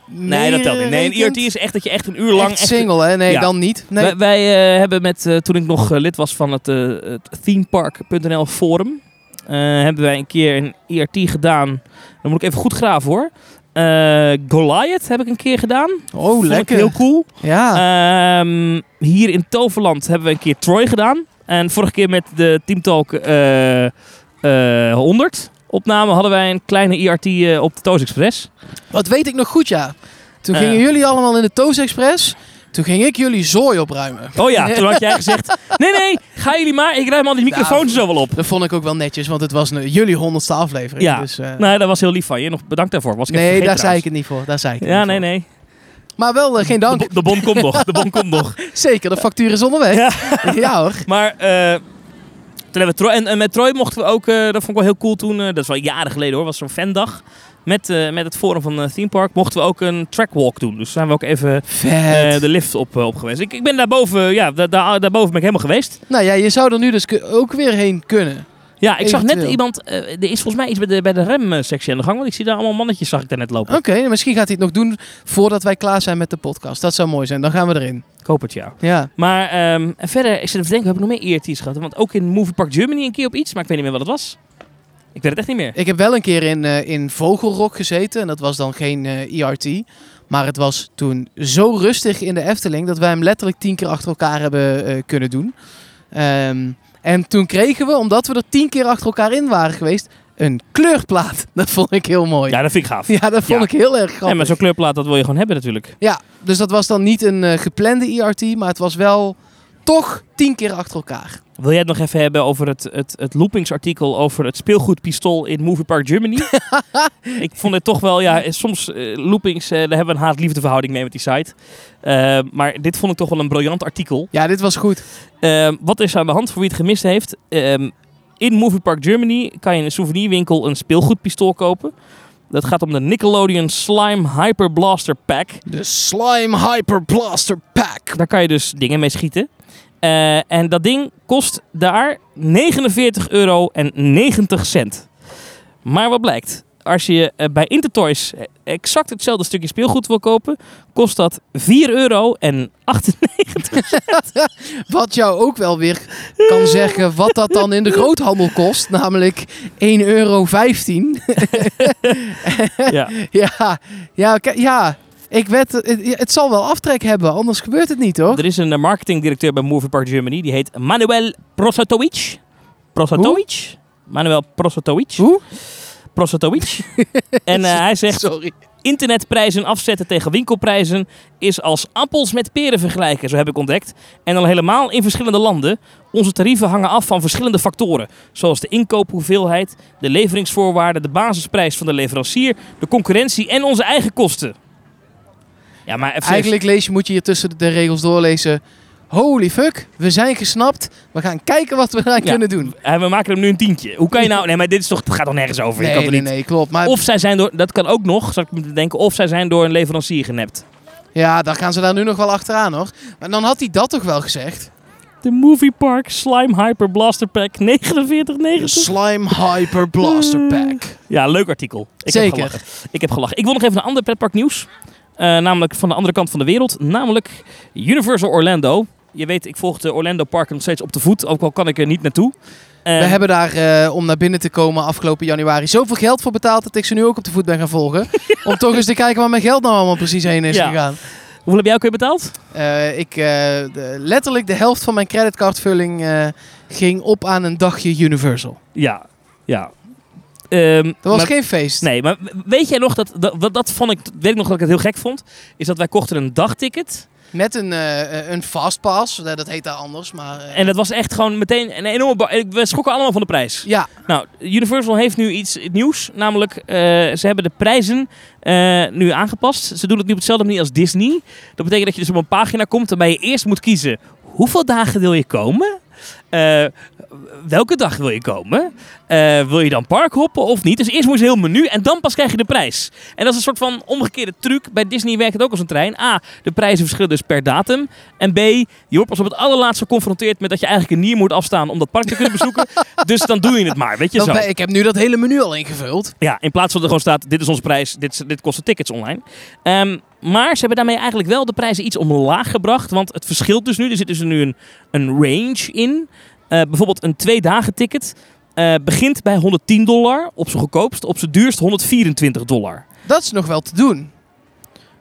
S3: nee, dat telt niet. Nee, een E
S2: meerekent,
S3: IRT is echt dat je echt een uur lang...
S2: echt
S3: echt-
S2: single, hè? Nee,
S3: Ja.
S2: dan niet. Nee.
S3: Wij, wij, eh, hebben met, eh, toen ik nog eh, lid was van het, eh, het themepark.nl forum, eh, hebben wij een keer een IRT gedaan. Dan moet ik even goed graven hoor. Eh, Goliath heb ik een keer gedaan.
S2: oh,
S3: Vond
S2: lekker. Ah.
S3: Ik heel Eh. cool.
S2: Ja.
S3: Ehm, hier in Toverland hebben we een keer Troy gedaan. En vorige keer met de Team Talk eh, eh, 100 opname hadden wij een kleine IRT eh, op de Toos Express.
S2: Dat weet ik nog goed, ja. Toen
S3: Eh.
S2: gingen jullie allemaal in de Toos Express. Toen ging ik jullie zooi opruimen.
S3: Oh ja, toen had jij
S2: (laughs)
S3: gezegd, nee nee, ga jullie maar, ik ruim al die microfoons zo wel op.
S2: Dat vond ik ook wel netjes, want het was een- jullie honderdste aflevering.
S3: Ja.
S2: dus, eh,
S3: Nee, dat was heel lief van je. Nog bedankt daarvoor. Was ik even
S2: nee, daar
S3: vergeten
S2: zei ik het niet voor. Daar zei ik het
S3: trouwens.
S2: niet
S3: Ja, nee,
S2: voor.
S3: nee.
S2: Maar wel, eh, geen
S3: De, (laughs)
S2: dank.
S3: bo- de bon komt nog. De bon komt
S2: (laughs)
S3: nog.
S2: Zeker, de factuur is onderweg.
S3: Ja.
S2: (laughs) Ja, hoor.
S3: Maar eh, toen hebben we Troy, en, en met Troy mochten we ook, eh, dat vond ik wel heel cool toen, eh, dat is wel jaren geleden hoor, was zo'n fandag. Met, eh, met het forum van eh, Theme Park mochten we ook een trackwalk doen. Dus zijn we ook even eh,
S2: Vet.
S3: de lift op, eh, op geweest. Ik, ik ben daarboven, ja, da- da- daarboven ben ik helemaal geweest.
S2: Nou ja, je zou er nu dus ku- ook weer heen kunnen.
S3: Ja, ik zag net
S2: Eventueel.
S3: iemand, eh, er is volgens mij iets bij de, bij de remsectie aan de gang. Want ik zie daar allemaal mannetjes, zag ik daar net lopen.
S2: Oké, misschien gaat hij het nog doen voordat wij klaar zijn met de podcast. Dat zou mooi zijn. Dan gaan we erin.
S3: Ik hoop het, ja.
S2: Ja.
S3: Maar ehm, en verder, ik zit even te denken, heb ik nog meer ERT's gehad? Want ook in Movie Park Germany een keer op iets, maar ik weet niet meer wat het was. Ik weet het echt niet meer.
S2: Ik heb wel een keer in, eh, in Vogelrok gezeten. En dat was dan geen eh ERT. Maar het was toen zo rustig in de Efteling dat wij hem letterlijk tien keer achter elkaar hebben eh, kunnen doen. Ehm, en toen kregen we, omdat we er tien keer achter elkaar in waren geweest, een kleurplaat. (laughs) Dat vond ik heel mooi. Ja,
S3: Ja, dat vind ik gaaf.
S2: dat vond
S3: Ja.
S2: ik heel erg grappig.
S3: Ja, maar zo'n kleurplaat, dat wil je gewoon hebben natuurlijk.
S2: Ja, dus dat was dan niet een eh, geplande ERT, maar het was wel toch tien keer achter elkaar.
S3: Wil jij het nog even hebben over het, het, het loopingsartikel over het speelgoedpistool in Movie Park Germany? ik vond het toch wel, ja, eh, soms eh, loopings, eh, daar hebben we een haat-liefdeverhouding mee met die site. Eh, maar dit vond ik toch wel een briljant artikel.
S2: Ja, dit was goed.
S3: Ehm, wat is er aan de hand voor wie het gemist heeft? Ehm, in Movie Park Germany kan je in een souvenirwinkel een speelgoedpistool kopen. Dat gaat om de Nickelodeon Slime Hyper Blaster Pack.
S2: De Slime Hyper Blaster Pack.
S3: Daar kan je dus dingen mee schieten. Eh, en dat ding kost daar 49 euro en 90 cent. Maar wat blijkt? Als je eh, bij Intertoys exact hetzelfde stukje speelgoed wil kopen, kost dat 4 euro en (laughs) 8
S2: Wat jou ook wel weer kan zeggen wat dat dan in de groothandel kost. Namelijk 1,15 euro.
S3: ja.
S2: (laughs) Ja, ja, k- ja. Ik wed, het, het zal wel aftrek hebben, anders gebeurt het niet hoor.
S3: Er is een eh, marketingdirecteur bij Movie Park Germany, die heet Manuel Prosatovic. Prosatovic? Manuel Prosotovic.
S2: Hoe?
S3: Prosotovic. en eh, hij zegt,
S2: Sorry.
S3: internetprijzen afzetten tegen winkelprijzen is als appels met peren vergelijken, zo heb ik ontdekt. En al helemaal in verschillende landen. Onze tarieven hangen af van verschillende factoren, zoals de inkoophoeveelheid, de leveringsvoorwaarden, de basisprijs van de leverancier, de concurrentie en onze eigen kosten. Ja, maar even
S2: Eigenlijk lees je, moet je hier tussen de regels doorlezen. Holy fuck, we zijn gesnapt. We gaan kijken wat we eraan
S3: Ja.
S2: kunnen doen.
S3: Eh, we maken hem nu een tientje. Hoe kan je nou... Nee, maar dit is toch, gaat toch nergens over? Je
S2: Nee,
S3: kan toch
S2: nee,
S3: niet...
S2: nee, klopt. Maar
S3: Of zij zijn door... Dat kan ook nog, zou ik moeten denken. Of zij zijn door een leverancier genept.
S2: ja, dan gaan ze daar nu nog wel achteraan hoor. Maar dan had hij dat toch wel
S3: (laughs)
S2: gezegd?
S3: De Movie Park Slime Hyper Blaster Pack 4990.
S2: Slime Hyper Blaster Pack.
S3: Ja, leuk artikel. Ik
S2: Zeker.
S3: Heb gelachen. ik heb gelachen. Ik wil nog even naar ander pretparknieuws. Eh namelijk van de andere kant van de wereld. Namelijk Universal Orlando. Je weet, ik volg de Orlando Park nog steeds op de voet. Ook al kan ik er niet naartoe. Eh,
S2: We hebben daar, eh, om naar binnen te komen afgelopen januari, zoveel geld voor betaald dat ik ze nu ook op de voet ben gaan
S3: (laughs)
S2: volgen. Om toch eens te kijken waar mijn geld nou allemaal precies heen is
S3: Ja.
S2: gegaan.
S3: Hoeveel heb jij ook weer betaald?
S2: Eh, ik, eh, de- letterlijk de helft van mijn creditcardvulling eh, ging op aan een dagje Universal.
S3: Ja. Ja. Ehm,
S2: Dat was
S3: maar-
S2: geen feest.
S3: Nee, maar weet jij nog dat, dat, dat, dat vond ik, weet ik nog dat ik het heel gek vond, is dat wij kochten een dagticket
S2: Met een, eh, eh, een fastpass, Eh, dat heet daar anders. Maar, eh,
S3: en dat was echt gewoon meteen een enorme, ba- en we schrokken allemaal van de prijs.
S2: ja,
S3: Nou, Universal heeft nu iets nieuws, namelijk eh, ze hebben de prijzen eh, nu aangepast. Ze doen het nu op dezelfde manier als Disney. Dat betekent dat je dus op een pagina komt waarbij je eerst moet kiezen hoeveel dagen wil je komen? Eh, welke dag wil je komen? Eh, wil je dan park hoppen of niet? Dus eerst moet je heel menu en dan pas krijg je de prijs. En dat is een soort van omgekeerde truc. Bij Disney werkt het ook als een trein. A, de prijzen verschillen dus per datum. En B, je wordt pas op het allerlaatste geconfronteerd met dat je eigenlijk een nier moet afstaan om dat park te kunnen (laughs) bezoeken. dus dan doe je het maar, weet je
S2: dat
S3: zo.
S2: ben- ik heb nu dat hele menu al ingevuld.
S3: Ja, in plaats van dat er gewoon staat, dit is onze prijs, dit, is- dit kost de tickets online. Ehm, maar ze hebben daarmee eigenlijk wel de prijzen iets omlaag gebracht, want het verschilt dus nu. Er zit dus nu een, een range in. Eh, bijvoorbeeld een twee dagen ticket eh, begint bij 110 dollar op zijn goedkoopst, op zijn duurst 124 dollar.
S2: Dat is nog wel te doen.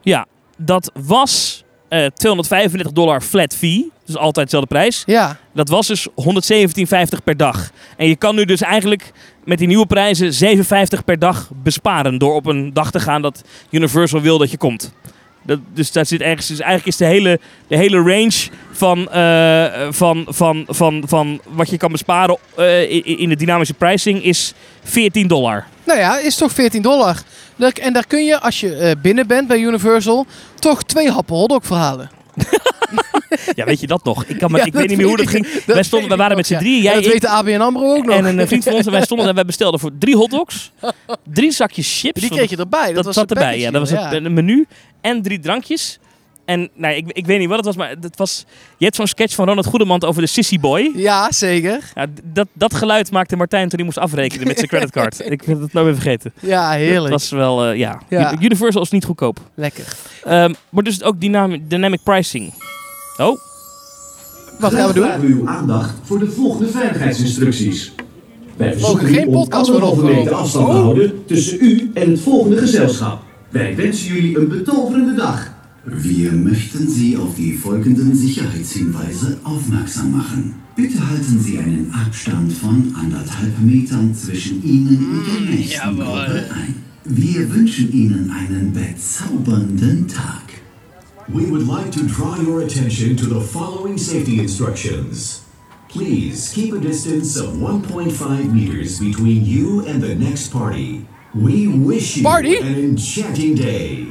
S3: Ja, dat was eh 235 dollar flat fee, dus altijd dezelfde prijs.
S2: Ja.
S3: Dat was dus 117,50 per dag. En je kan nu dus eigenlijk met die nieuwe prijzen 7,50 per dag besparen. Door op een dag te gaan dat Universal wil dat je komt. Dat, dus daar zit ergens. Dus eigenlijk is de hele, de hele range van, eh, van, van, van, van wat je kan besparen eh, i- in de dynamische pricing is 14 dollar.
S2: Nou ja, is toch 14 dollar. Daar- En daar kun je, als je eh, binnen bent bij Universal, toch twee happen hotdog verhalen.
S3: Ja, weet je dat nog? Ik, kan
S2: (laughs)
S3: maar,
S2: Ja,
S3: ik weet niet meer hoe (laughs) dat ging. wij, stonden, wij waren met z'n drieën. Jij,
S2: dat
S3: ik
S2: weet de ABN AMRO ook nog. (laughs)
S3: en een eh, vriend van ons. En wij stonden en wij bestelden voor drie hotdogs. Drie zakjes chips.
S2: Die
S3: want
S2: kreeg je erbij. Dat,
S3: dat,
S2: was
S3: zat
S2: de
S3: erbij.
S2: package
S3: Ja, dat was
S2: deal,
S3: een, een menu en drie drankjes. En nou, ik, ik weet niet wat het was, maar het was, je hebt zo'n sketch van Ronald Goedemand over de Sissy Boy.
S2: Ja, zeker.
S3: Ja, d- dat, dat geluid maakte Martijn toen hij moest afrekenen met zijn
S2: (laughs)
S3: creditcard. ik heb het nooit meer vergeten.
S2: Ja, heerlijk.
S3: Dat was wel, eh, ja.
S2: Ja.
S3: U- Universal is niet goedkoop.
S2: Lekker.
S3: Ehm, maar dus ook dynamic, dynamic pricing. Oh,
S2: Wat gaan we doen?
S3: (laughs)
S1: Graag uw aandacht voor de volgende veiligheidsinstructies. Wij verzoeken
S2: Oh, geen
S1: u om
S2: podcast worden Oh.
S1: anderhalve meter
S2: opgenomen.
S1: afstand te houden tussen u en het volgende gezelschap. Wij wensen jullie een betoverende dag.
S4: Wir möchten Sie auf die folgenden Sicherheitshinweise aufmerksam machen. Bitte halten Sie einen Abstand von anderthalb Metern zwischen Ihnen und der nächsten Gruppe ein. Wir wünschen Ihnen einen bezaubernden Tag.
S5: We would like to draw your attention to the following safety instructions. Please keep a distance of 1.5 meters between you and the next party. We wish you
S2: Party?
S5: an enchanting day.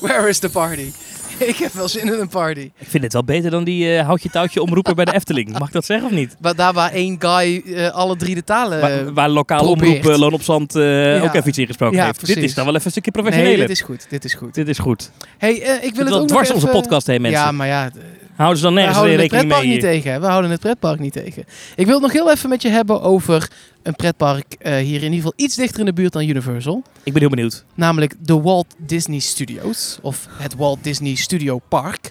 S2: Where is the party? (laughs) Ik heb wel zin in een party.
S3: ik vind dit wel beter dan die eh houtje touwtje
S2: (laughs)
S3: omroepen bij de Efteling. Mag ik dat zeggen of niet?
S2: Maar daar waar één guy eh, alle drie de talen...
S3: Waar,
S2: eh,
S3: waar lokaal
S2: probeert.
S3: omroep eh, Loon op Zand eh,
S2: Ja.
S3: ook even iets ingesproken
S2: Ja,
S3: heeft. Dit
S2: precies.
S3: is dan wel even een stukje
S2: nee,
S3: professioneel.
S2: dit is goed. Dit is goed.
S3: Dit is goed.
S2: Hey, eh, ik wil het
S3: wel
S2: ook
S3: dwars
S2: nog
S3: onze
S2: even-
S3: podcast heen, mensen.
S2: Ja, maar ja,
S3: Houden ze dan
S2: we
S3: nergens
S2: houden
S3: weer
S2: het
S3: rekening
S2: pretpark
S3: mee?
S2: niet tegen. hè. We houden het pretpark niet tegen. Ik wil het nog heel even met je hebben over een pretpark eh, hier in ieder geval iets dichter in de buurt dan Universal.
S3: Ik ben heel benieuwd.
S2: Namelijk de Walt Disney Studios. Of het Walt Disney Studio Park.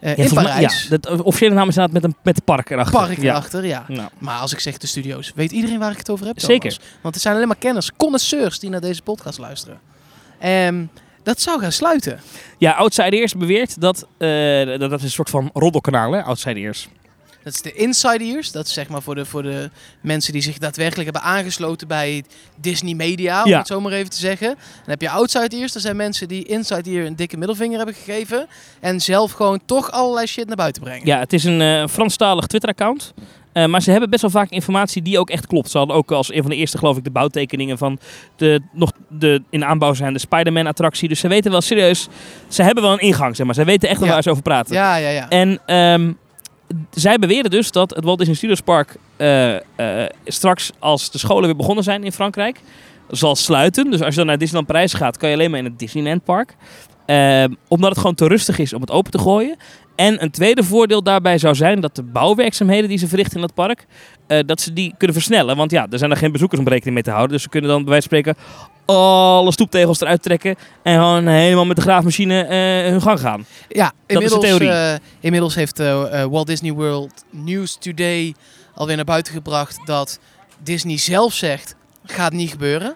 S2: eh, in
S3: volgens mij-
S2: Parijs.
S3: ja, dat eh, officiële naam is inderdaad met een met park erachter.
S2: Park
S3: ja.
S2: erachter, ja.
S3: Nou,
S2: Maar als ik zeg de studio's, weet iedereen waar ik het over heb. Thomas.
S3: Zeker.
S2: Want het zijn alleen maar kenners, connoisseurs die naar deze podcast luisteren. Ehm, dat zou gaan sluiten.
S3: ja, Outsiders beweert dat, eh, dat dat is een soort van roddelkanaal, hè? Outsiders.
S2: Dat is de insiders. Dat is zeg maar voor de, voor de mensen die zich daadwerkelijk hebben aangesloten bij Disney Media, om
S3: Ja.
S2: het zo maar even te zeggen. Dan heb je outsiders. Dat zijn mensen die inside hier een dikke middelvinger hebben gegeven. En zelf gewoon toch allerlei shit naar buiten brengen.
S3: Ja, het is een eh, Franstalig Twitter-account. Eh, maar ze hebben best wel vaak informatie die ook echt klopt. Ze hadden ook als een van de eerste, geloof ik, de bouwtekeningen van de nog de, in aanbouw zijnde Spider-Man-attractie. Dus ze weten wel serieus, ze hebben wel een ingang, zeg maar. Ze weten echt wel
S2: Ja.
S3: waar ze over praten.
S2: ja, ja. ja.
S3: En ehm, zij beweren dus dat het Walt Disney Studios Park eh, eh, straks, als de scholen weer begonnen zijn in Frankrijk, zal sluiten. Dus als je dan naar Disneyland Parijs gaat, kan je alleen maar in het Disneyland Park. Ehm, omdat het gewoon te rustig is om het open te gooien. En een tweede voordeel daarbij zou zijn dat de bouwwerkzaamheden die ze verrichten in dat park, eh, dat ze die kunnen versnellen. Want ja, er zijn er geen bezoekers om rekening mee te houden. Dus ze kunnen dan bij wijze van spreken alle stoeptegels eruit trekken en gewoon helemaal met de graafmachine eh, hun gang gaan.
S2: Ja,
S3: Dat is de
S2: inmiddels,
S3: theorie.
S2: eh, inmiddels heeft eh, eh, Walt Disney World News Today alweer naar buiten gebracht dat Disney zelf zegt, gaat niet gebeuren.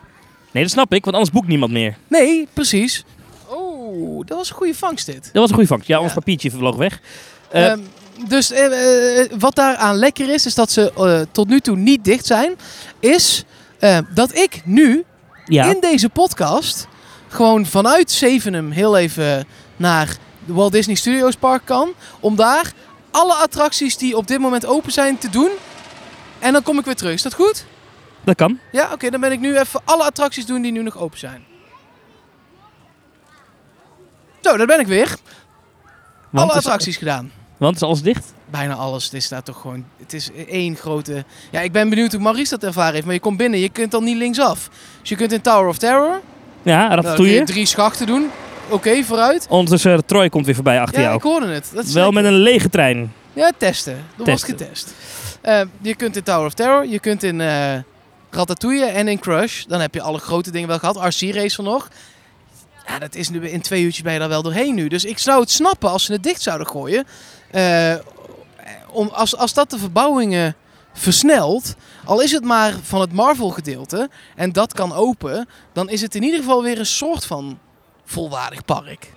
S3: Nee, dat snap ik, want anders boekt niemand meer.
S2: Nee, precies. Oh, dat was een goede vangst dit.
S3: Dat was een goede vangst. Ja, ons
S2: Ja.
S3: papiertje vloog weg. Eh,
S2: Ehm, dus eh, eh, wat daaraan lekker is, is dat ze eh, tot nu toe niet dicht zijn, is eh, dat ik nu
S3: ja.
S2: in deze podcast gewoon vanuit Zevenum heel even naar de Walt Disney Studios Park kan. Om daar alle attracties die op dit moment open zijn te doen. En dan kom ik weer terug. Is dat goed?
S3: dat kan.
S2: Ja, oké. dan ben ik nu even alle attracties doen die nu nog open zijn. Zo, daar ben ik weer.
S3: Want
S2: alle
S3: het is-
S2: attracties gedaan.
S3: want is alles dicht?
S2: Bijna alles. Het is daar toch gewoon... Het is één grote... Ja, ik ben benieuwd hoe Maurice dat ervaren heeft. Maar je komt binnen. Je kunt dan niet linksaf. Dus je kunt in Tower of Terror... Nou, dan
S3: Ja,
S2: kun je
S3: ratatouille.
S2: drie schachten doen. Oké, vooruit.
S3: Ondertussen, eh, Troy komt weer voorbij achter
S2: Ja,
S3: jou.
S2: ik hoorde het. Dat is
S3: Wel
S2: lekker.
S3: met een lege trein.
S2: Ja, testen. Er wordt
S3: Testen.
S2: getest. Eh, je kunt in Tower of Terror, je kunt in eh Ratatouille en in Crush. Dan heb je alle grote dingen wel gehad. RC-race van nog. Ja, dat is nu in twee uurtjes ben je daar wel doorheen nu. Dus ik zou het snappen als ze het dicht zouden gooien. Eh, om, als, als dat de verbouwingen versnelt, al is het maar van het Marvel-gedeelte, en dat kan open, dan is het in ieder geval weer een soort van volwaardig park.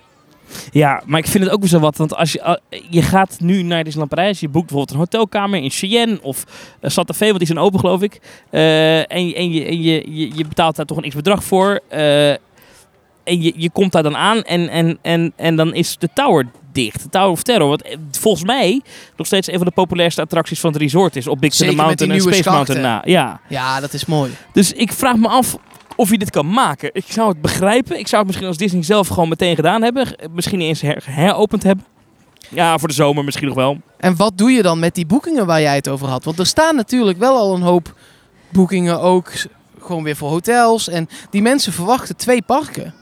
S3: Ja, maar ik vind het ook weer zo wat. Want als je, ah, je gaat nu naar Disneyland Parijs. Je boekt bijvoorbeeld een hotelkamer in Cheyenne of eh, Santa Fe. Want die zijn open, geloof ik. Eh, en je- en, je, en je, je, je betaalt daar toch een x-bedrag voor. eh, en je, je komt daar dan aan en, en, en, en dan is de tower dicht. De Tower of Terror. Wat eh, volgens mij nog steeds een van de populairste attracties van het resort is. Op Big Thunder
S2: Zeker met die
S3: Mountain en
S2: nieuwe
S3: Space
S2: schachten.
S3: Mountain na. Ja.
S2: Ja, dat is mooi.
S3: Dus ik vraag me af of je dit kan maken. Ik zou het begrijpen. Ik zou het misschien als Disney zelf gewoon meteen gedaan hebben. G- Misschien niet eens her- heropend hebben. Ja, voor de zomer misschien nog wel.
S2: En wat doe je dan met die boekingen waar jij het over had? Want er staan natuurlijk wel al een hoop boekingen ook s- gewoon weer voor hotels. En die mensen verwachten twee parken.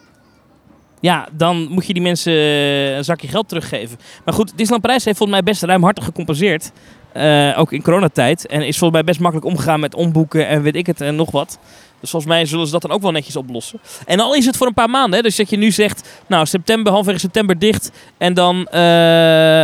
S3: Ja, dan moet je die mensen eh, een zakje geld teruggeven. Maar goed, Disneyland Parijs heeft volgens mij best ruimhartig gecompenseerd. Eh, ook in coronatijd. En is volgens mij best makkelijk omgegaan met omboeken en weet ik het en nog wat. Dus volgens mij zullen ze dat dan ook wel netjes oplossen. En al is het voor een paar maanden. Hè? Dus dat je nu zegt, nou september, halverwege september dicht. En dan eh,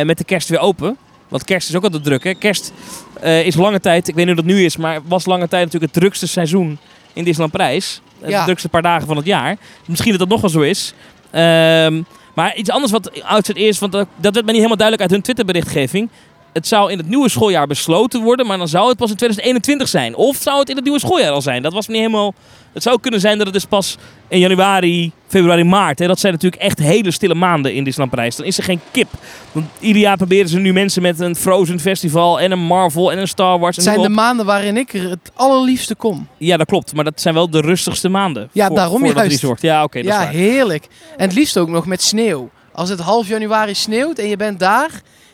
S3: eh, met de kerst weer open. Want kerst is ook altijd druk. Hè? Kerst eh, is lange tijd, ik weet niet hoe dat nu is. Maar was lange tijd natuurlijk het drukste seizoen in Disneyland Parijs. Eh,
S2: Ja.
S3: De drukste paar dagen van het jaar. Misschien dat dat nog wel zo is. Ehm, maar iets anders wat outset is, want dat, dat werd mij niet helemaal duidelijk uit hun Twitterberichtgeving. Het zou in het nieuwe schooljaar besloten worden, maar dan zou het pas in 2021 zijn. Of zou het in het nieuwe schooljaar al zijn? Dat was me niet helemaal. Het zou ook kunnen zijn dat het dus pas in januari, februari, maart. Hè, dat zijn natuurlijk echt hele stille maanden in Disneyland Parijs. Dan is er geen kip. Want ieder jaar proberen ze nu mensen met een Frozen Festival en een Marvel en een Star Wars. En
S2: Het zijn
S3: noem
S2: de
S3: maar
S2: maanden waarin ik er het allerliefste kom.
S3: op. Ja, dat klopt. Maar dat zijn wel de rustigste maanden.
S2: Ja,
S3: voor,
S2: daarom
S3: voor dat
S2: juist.
S3: resort. Ja, oké. dat is
S2: ja,
S3: waar.
S2: heerlijk. En het liefst ook nog met sneeuw. Als het half januari sneeuwt en je bent daar,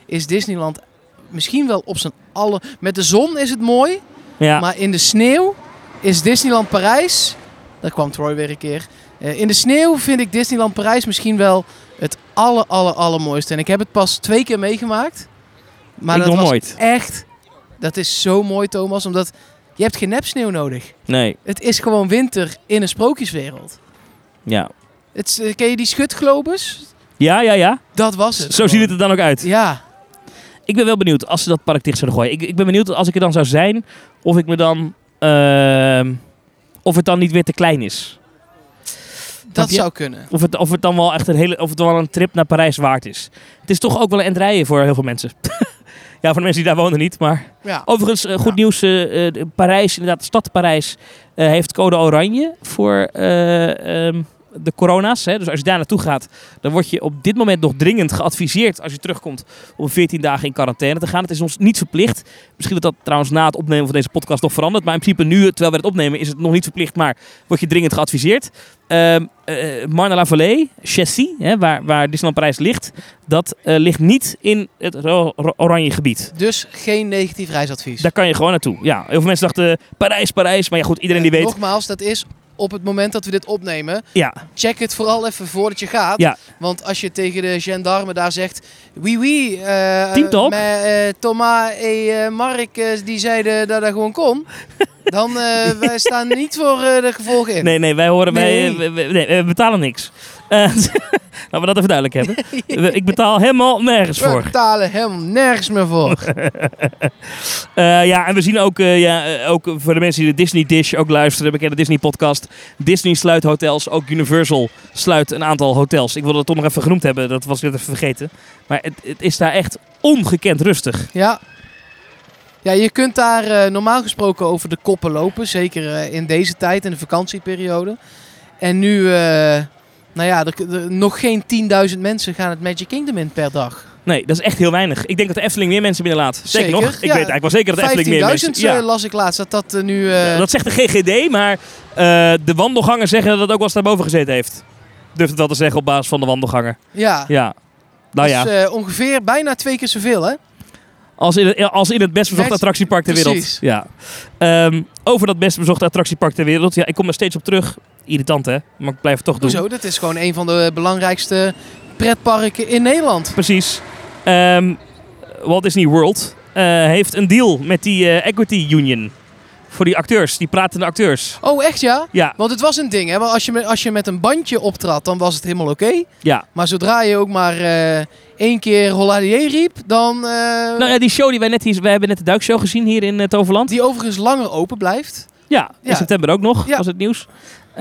S2: is Disneyland misschien wel op zijn alle. Met de zon is het mooi,
S3: Ja.
S2: maar in de sneeuw is Disneyland Parijs. Daar kwam Troy weer een keer. Eh, in de sneeuw vind ik Disneyland Parijs misschien wel het aller, aller, allermooiste. En ik heb het pas twee keer meegemaakt. Maar
S3: Ik
S2: dat
S3: nog
S2: was
S3: nooit.
S2: echt... Dat is zo mooi, Thomas, omdat je hebt geen nepsneeuw nodig.
S3: Nee.
S2: Het is gewoon winter in een sprookjeswereld.
S3: Ja.
S2: Het, is- eh, ken je die schutglobus?
S3: Ja, ja, ja.
S2: Dat was het.
S3: Zo ziet het
S2: gewoon.
S3: er dan ook uit.
S2: Ja,
S3: Ik ben wel benieuwd als ze dat park dicht zouden gooien. Ik, ik ben benieuwd als ik er dan zou zijn, of ik me dan. ehm, of het dan niet weer te klein is.
S2: dat
S3: je?
S2: zou kunnen.
S3: Of het, of het dan wel echt een hele. Of het wel een trip naar Parijs waard is. Het is toch ook wel een end rijden voor heel veel mensen. (laughs) Ja, voor de mensen die daar wonen niet, maar...
S2: Ja.
S3: Overigens, eh, goed
S2: Ja.
S3: nieuws. eh, eh, de- Parijs, inderdaad, de stad Parijs eh, heeft code oranje voor eh, ehm, de corona's. Hè. Dus als je daar naartoe gaat, dan word je op dit moment nog dringend geadviseerd als je terugkomt om 14 dagen in quarantaine te gaan. Het is ons niet verplicht. Misschien dat dat trouwens na het opnemen van deze podcast nog verandert. Maar in principe nu, terwijl we het opnemen, is het nog niet verplicht, maar word je dringend geadviseerd. Ehm eh, Marne-la-Vallée, Chessy, hè, waar, waar Disneyland Parijs ligt, dat eh, ligt niet in het ro- ro- oranje gebied.
S2: Dus geen negatief reisadvies.
S3: Daar kan je gewoon naartoe. Ja, heel veel mensen dachten Parijs, Parijs. Maar ja, goed, iedereen die
S2: Eh,
S3: weet.
S2: Nogmaals, dat is op het moment dat we dit opnemen.
S3: Ja,
S2: Check het vooral even voordat je gaat.
S3: ja,
S2: Want als je tegen de gendarme daar zegt... Oui, oui. eh,
S3: Team talk.
S2: maar, eh, Thomas en eh, Mark eh, die zeiden dat dat gewoon
S3: (laughs)
S2: kon. Dan eh, wij staan niet voor eh, de gevolgen in.
S3: nee, nee, wij horen,
S2: Nee.
S3: wij eh, we- we- nee, we betalen niks. Eh, (laughs) Laten we dat even duidelijk hebben. We- Ik betaal helemaal nergens
S2: we
S3: voor.
S2: betalen hem nergens meer
S3: (laughs)
S2: voor.
S3: Eh, ja, en we zien ook, eh, ja, eh, ook voor de mensen die de Disney Dish ook luisteren, bekende Disney podcast. Disney sluit hotels, ook Universal sluit een aantal hotels. Ik wilde dat toch nog even genoemd hebben, dat was ik net even vergeten. Maar het, het is daar echt ongekend rustig.
S2: Ja. Ja, je kunt daar eh, normaal gesproken over de koppen lopen. Zeker eh, in deze tijd, in de vakantieperiode. En nu, eh, nou ja, er, er- nog geen 10.000 mensen gaan het Magic Kingdom in per dag.
S3: Nee, dat is echt heel weinig. Ik denk dat de Efteling meer mensen binnenlaat. Zeker,
S2: Zeker,
S3: nog. Ik weet
S2: ja.
S3: eigenlijk wel zeker dat de Efteling meer
S2: 15.000
S3: mensen...
S2: eh, las ik laatst dat dat eh, nu... eh,
S3: Ja, dat zegt de GGD, maar eh, de wandelganger zeggen dat het ook wel eens daarboven gezeten heeft. Durf het wel te zeggen op basis van de wandelganger.
S2: ja.
S3: Ja. Nou ja,
S2: Dus eh, ongeveer bijna twee keer zoveel, hè?
S3: als in het, als in het best bezochte
S2: Mensen-
S3: attractiepark ter wereld.
S2: Precies.
S3: Ja. Ehm, over dat best bezochte attractiepark ter wereld. Ja, ik kom er steeds op terug. Irritant hè, maar ik blijf het toch doen.
S2: Hoezo? Dat is gewoon een van de belangrijkste pretparken in Nederland.
S3: Precies. Ehm, Walt Disney World eh, heeft een deal met die eh, Equity Union. Voor die acteurs, die pratende acteurs.
S2: Oh, echt ja?
S3: Ja,
S2: Want het was een ding, hè? Want als je, met- als je met een bandje optrad, dan was het helemaal oké.
S3: ja.
S2: Maar zodra je ook maar eh, één keer Holladier riep, dan... eh,
S3: Nou ja, die show die wij net hier... Wij hebben net de duikshow gezien hier in eh, Toverland.
S2: Die overigens langer open blijft.
S3: Ja, in
S2: Ja.
S3: september ook nog,
S2: Ja.
S3: was het nieuws. Eh,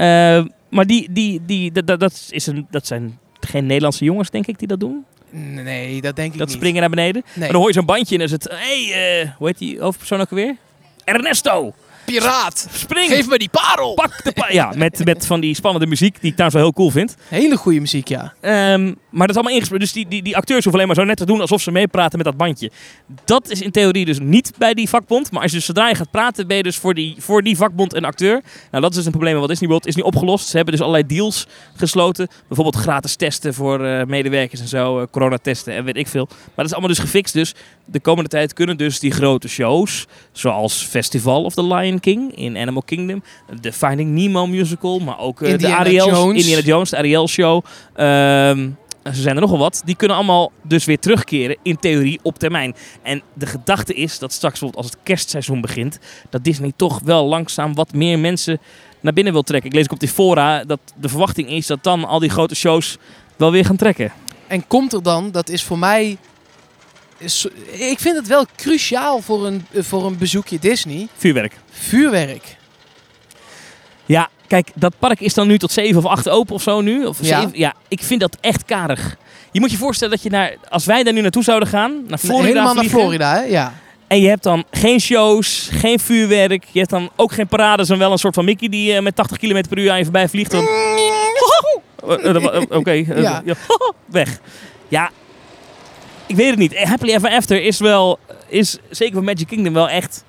S3: maar die, die, die, dat- dat, dat, is een, dat zijn geen Nederlandse jongens, denk ik, die dat doen.
S2: Nee, dat denk ik
S3: Dat
S2: niet.
S3: springen naar beneden.
S2: Nee.
S3: En dan hoor je zo'n bandje en dan is het... Hé, hey, eh, hoe heet die hoofdpersoon ook weer? Ernesto,
S2: Piraat!
S3: spring!
S2: Geef me die parel!
S3: Pak de pa- Ja, met, met van die spannende muziek, die ik trouwens wel heel cool vind.
S2: Hele goede muziek, ja.
S3: Ehm, maar dat is allemaal ingesproken. Dus die, die, die acteurs hoeven alleen maar zo net te doen alsof ze meepraten met dat bandje. Dat is in theorie dus niet bij die vakbond. Maar als je dus zodra je gaat praten, ben je dus voor die, voor die vakbond een acteur. Nou, dat is dus een probleem. Wat Disney World is niet opgelost. Ze hebben dus allerlei deals gesloten. Bijvoorbeeld gratis testen voor eh, medewerkers en zo. eh, coronatesten en weet ik veel. Maar dat is allemaal dus gefixt. Dus de komende tijd kunnen dus die grote shows. Zoals Festival of the Lion King in Animal Kingdom. De Finding Nemo musical. Maar ook eh, de
S2: Indiana
S3: Ariel's.
S2: Jones.
S3: Indiana Jones, de Ariel show. Ehm, en ze zijn er nogal wat. Die kunnen allemaal dus weer terugkeren in theorie op termijn. En de gedachte is dat straks bijvoorbeeld als het kerstseizoen begint, dat Disney toch wel langzaam wat meer mensen naar binnen wil trekken. Ik lees ook op die fora dat de verwachting is dat dan al die grote shows wel weer gaan trekken.
S2: En komt er dan, dat is voor mij... is- Ik vind het wel cruciaal voor een, voor een bezoekje Disney.
S3: Vuurwerk.
S2: Vuurwerk.
S3: Ja, kijk, dat park is dan nu tot 7 of 8 open of zo nu. Of
S2: Ja.
S3: ja. ja, ik vind dat echt karig. Je moet je voorstellen dat je naar, als wij daar nu naartoe zouden gaan, naar Florida
S2: Helemaal naar
S3: vliegen,
S2: Florida, hè? Ja.
S3: En je hebt dan geen shows, geen vuurwerk. Je hebt dan ook geen parades en wel een soort van Mickey die eh, met 80 km per uur aan je voorbij vliegt. Dan... Eh, eh, dat wa- eh, Oké, eh,
S2: Ja.
S3: ja. weg. Ja, ik weet het niet. Eh, Happily Ever After is wel, is zeker voor Magic Kingdom wel echt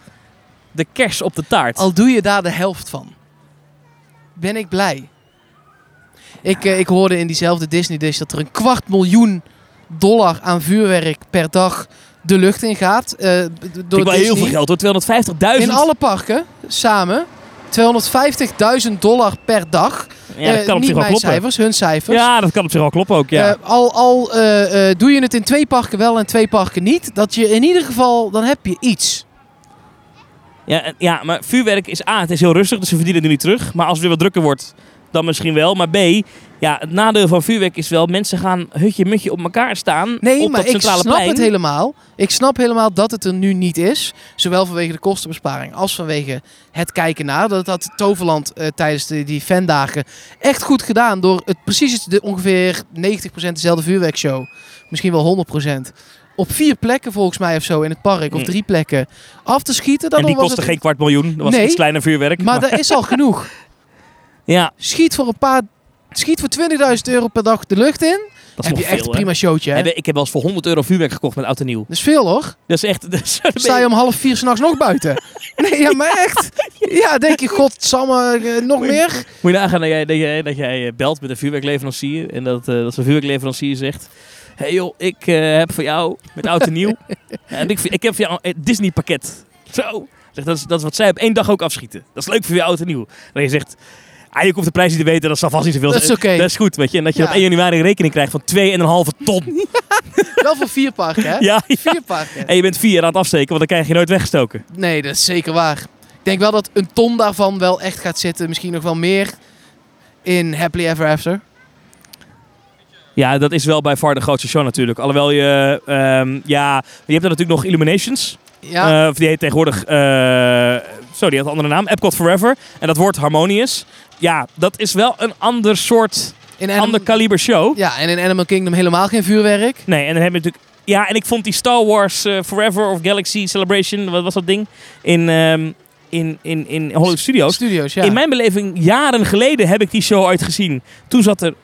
S3: de kers op de taart.
S2: Al doe je daar de helft van. Ben ik blij. Ik, eh, ik hoorde in diezelfde Disney Dish dat er een kwart miljoen dollar aan vuurwerk per dag de lucht in gaat. eh, d- door
S3: Vind ik wel heel
S2: Disney.
S3: veel geld hoor, 250.000.
S2: In alle parken samen 250.000 dollar per dag.
S3: Ja, dat
S2: Eh,
S3: kan op
S2: niet
S3: zich wel
S2: mijn
S3: kloppen.
S2: cijfers, hun cijfers.
S3: Ja, dat kan op zich wel kloppen ook, ja.
S2: Eh, al al eh, eh, doe je het in twee parken wel en twee parken niet, dat je in ieder geval, dan heb je iets.
S3: Ja, en- ja, maar vuurwerk is A, het is heel rustig, dus ze verdienen het nu niet terug. Maar als het weer wat drukker wordt, dan misschien wel. Maar B, ja, het nadeel van vuurwerk is wel, mensen gaan hutje-mutje op elkaar staan
S2: Nee,
S3: op
S2: maar
S3: dat
S2: ik
S3: centrale
S2: snap
S3: plein.
S2: het helemaal. Ik snap helemaal dat het er nu niet is. Zowel vanwege de kostenbesparing als vanwege het kijken naar. Dat had Toverland eh, tijdens de, die fandagen echt goed gedaan. Door het precies de, ongeveer 90% dezelfde vuurwerkshow. Misschien wel 100%. op vier plekken volgens mij of zo in het park, of
S3: Mm.
S2: drie plekken, af te schieten. Dan
S3: en die
S2: was
S3: kostte
S2: het,
S3: geen kwart miljoen. Dat was
S2: Nee,
S3: iets kleiner vuurwerk.
S2: Maar dat is al genoeg.
S3: ja,
S2: Schiet voor een paar... Schiet voor 20.000 euro per dag de lucht in.
S3: dat is
S2: heb
S3: nog
S2: je echt
S3: veel,
S2: een
S3: hè?
S2: prima showtje. Hè?
S3: Hebben- Ik heb wel eens voor 100 euro vuurwerk gekocht met oud en nieuw.
S2: Dat is veel hoor.
S3: Dat is echt... (laughs) Dat is,
S2: Sta je om half vier s'nachts nog
S3: (laughs)
S2: buiten? Nee, ja, maar echt. Ja, denk je, godsamme, eh, nog meer?
S3: Moet je nagaan dat jij, dat jij, dat jij eh, belt met een vuurwerkleverancier en dat, eh, dat zo'n vuurwerkleverancier zegt... Hé hey joh, ik eh, heb voor jou met oud en
S2: (laughs)
S3: nieuw... en ik, ik heb voor jou een eh, Disney pakket. Zo. Zeg, dat, is, dat is wat zij op één dag ook afschieten. Dat is leuk voor je oud en nieuw. En je zegt... Ah, je hoeft de prijs niet te weten, dat zal vast niet zoveel
S2: Dat is
S3: zijn."
S2: oké.
S3: Dat is goed, weet je. En dat je
S2: Ja.
S3: op 1 januari een rekening krijgt van 2,5
S2: (laughs)
S3: ton.
S2: Wel voor vier parken, hè?
S3: (laughs) ja, ja.
S2: Vier parken.
S3: En je bent vier aan het afsteken, want dan krijg je nooit weggestoken.
S2: Nee, dat is zeker waar. Ik denk wel dat een ton daarvan wel echt gaat zitten. Misschien nog wel meer in Happily Ever After.
S3: Ja, dat is wel bij far de grootste show natuurlijk. Alhoewel je... ehm, ja, je hebt dan natuurlijk nog Illuminations.
S2: Ja,
S3: Eh, of die heet tegenwoordig. eh, zo, die had een andere naam. Epcot Forever. En dat wordt Harmonious. Ja, dat is wel een ander soort,
S2: in
S3: ander
S2: Animal,
S3: kaliber show.
S2: ja, en in Animal Kingdom helemaal geen vuurwerk.
S3: Nee, en dan heb je natuurlijk. Ja, en ik vond die Star Wars eh, Forever of Galaxy Celebration, wat was dat ding? In, ehm, in, in, in Hollywood Studios.
S2: Studios, ja.
S3: In mijn beleving, jaren geleden heb ik die show ooit gezien. Toen zat er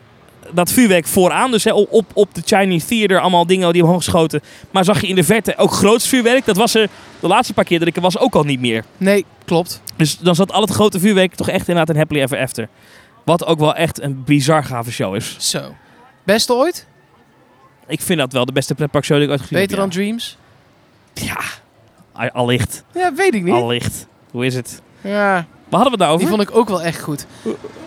S3: dat vuurwerk vooraan. Dus hè, op, op- op de Chinese Theater, allemaal dingen die omhoog schoten. Maar zag je in de verte ook groots vuurwerk? Dat was er de laatste paar keer dat ik er was ook al niet meer.
S2: Nee, klopt.
S3: Dus dan zat al het grote vuurwerk toch echt inderdaad een Happily Ever After. Wat ook wel echt een bizar gave show is.
S2: Zo. Beste ooit?
S3: Ik vind dat wel de beste pretparkshow die ik ooit gezien
S2: Beter dan
S3: heb.
S2: Dreams?
S3: Ja, ja. allicht.
S2: Ja, weet ik niet.
S3: Allicht. Hoe is het?
S2: Ja,
S3: Waar hadden we het nou
S2: die
S3: over?
S2: vond ik ook wel echt goed.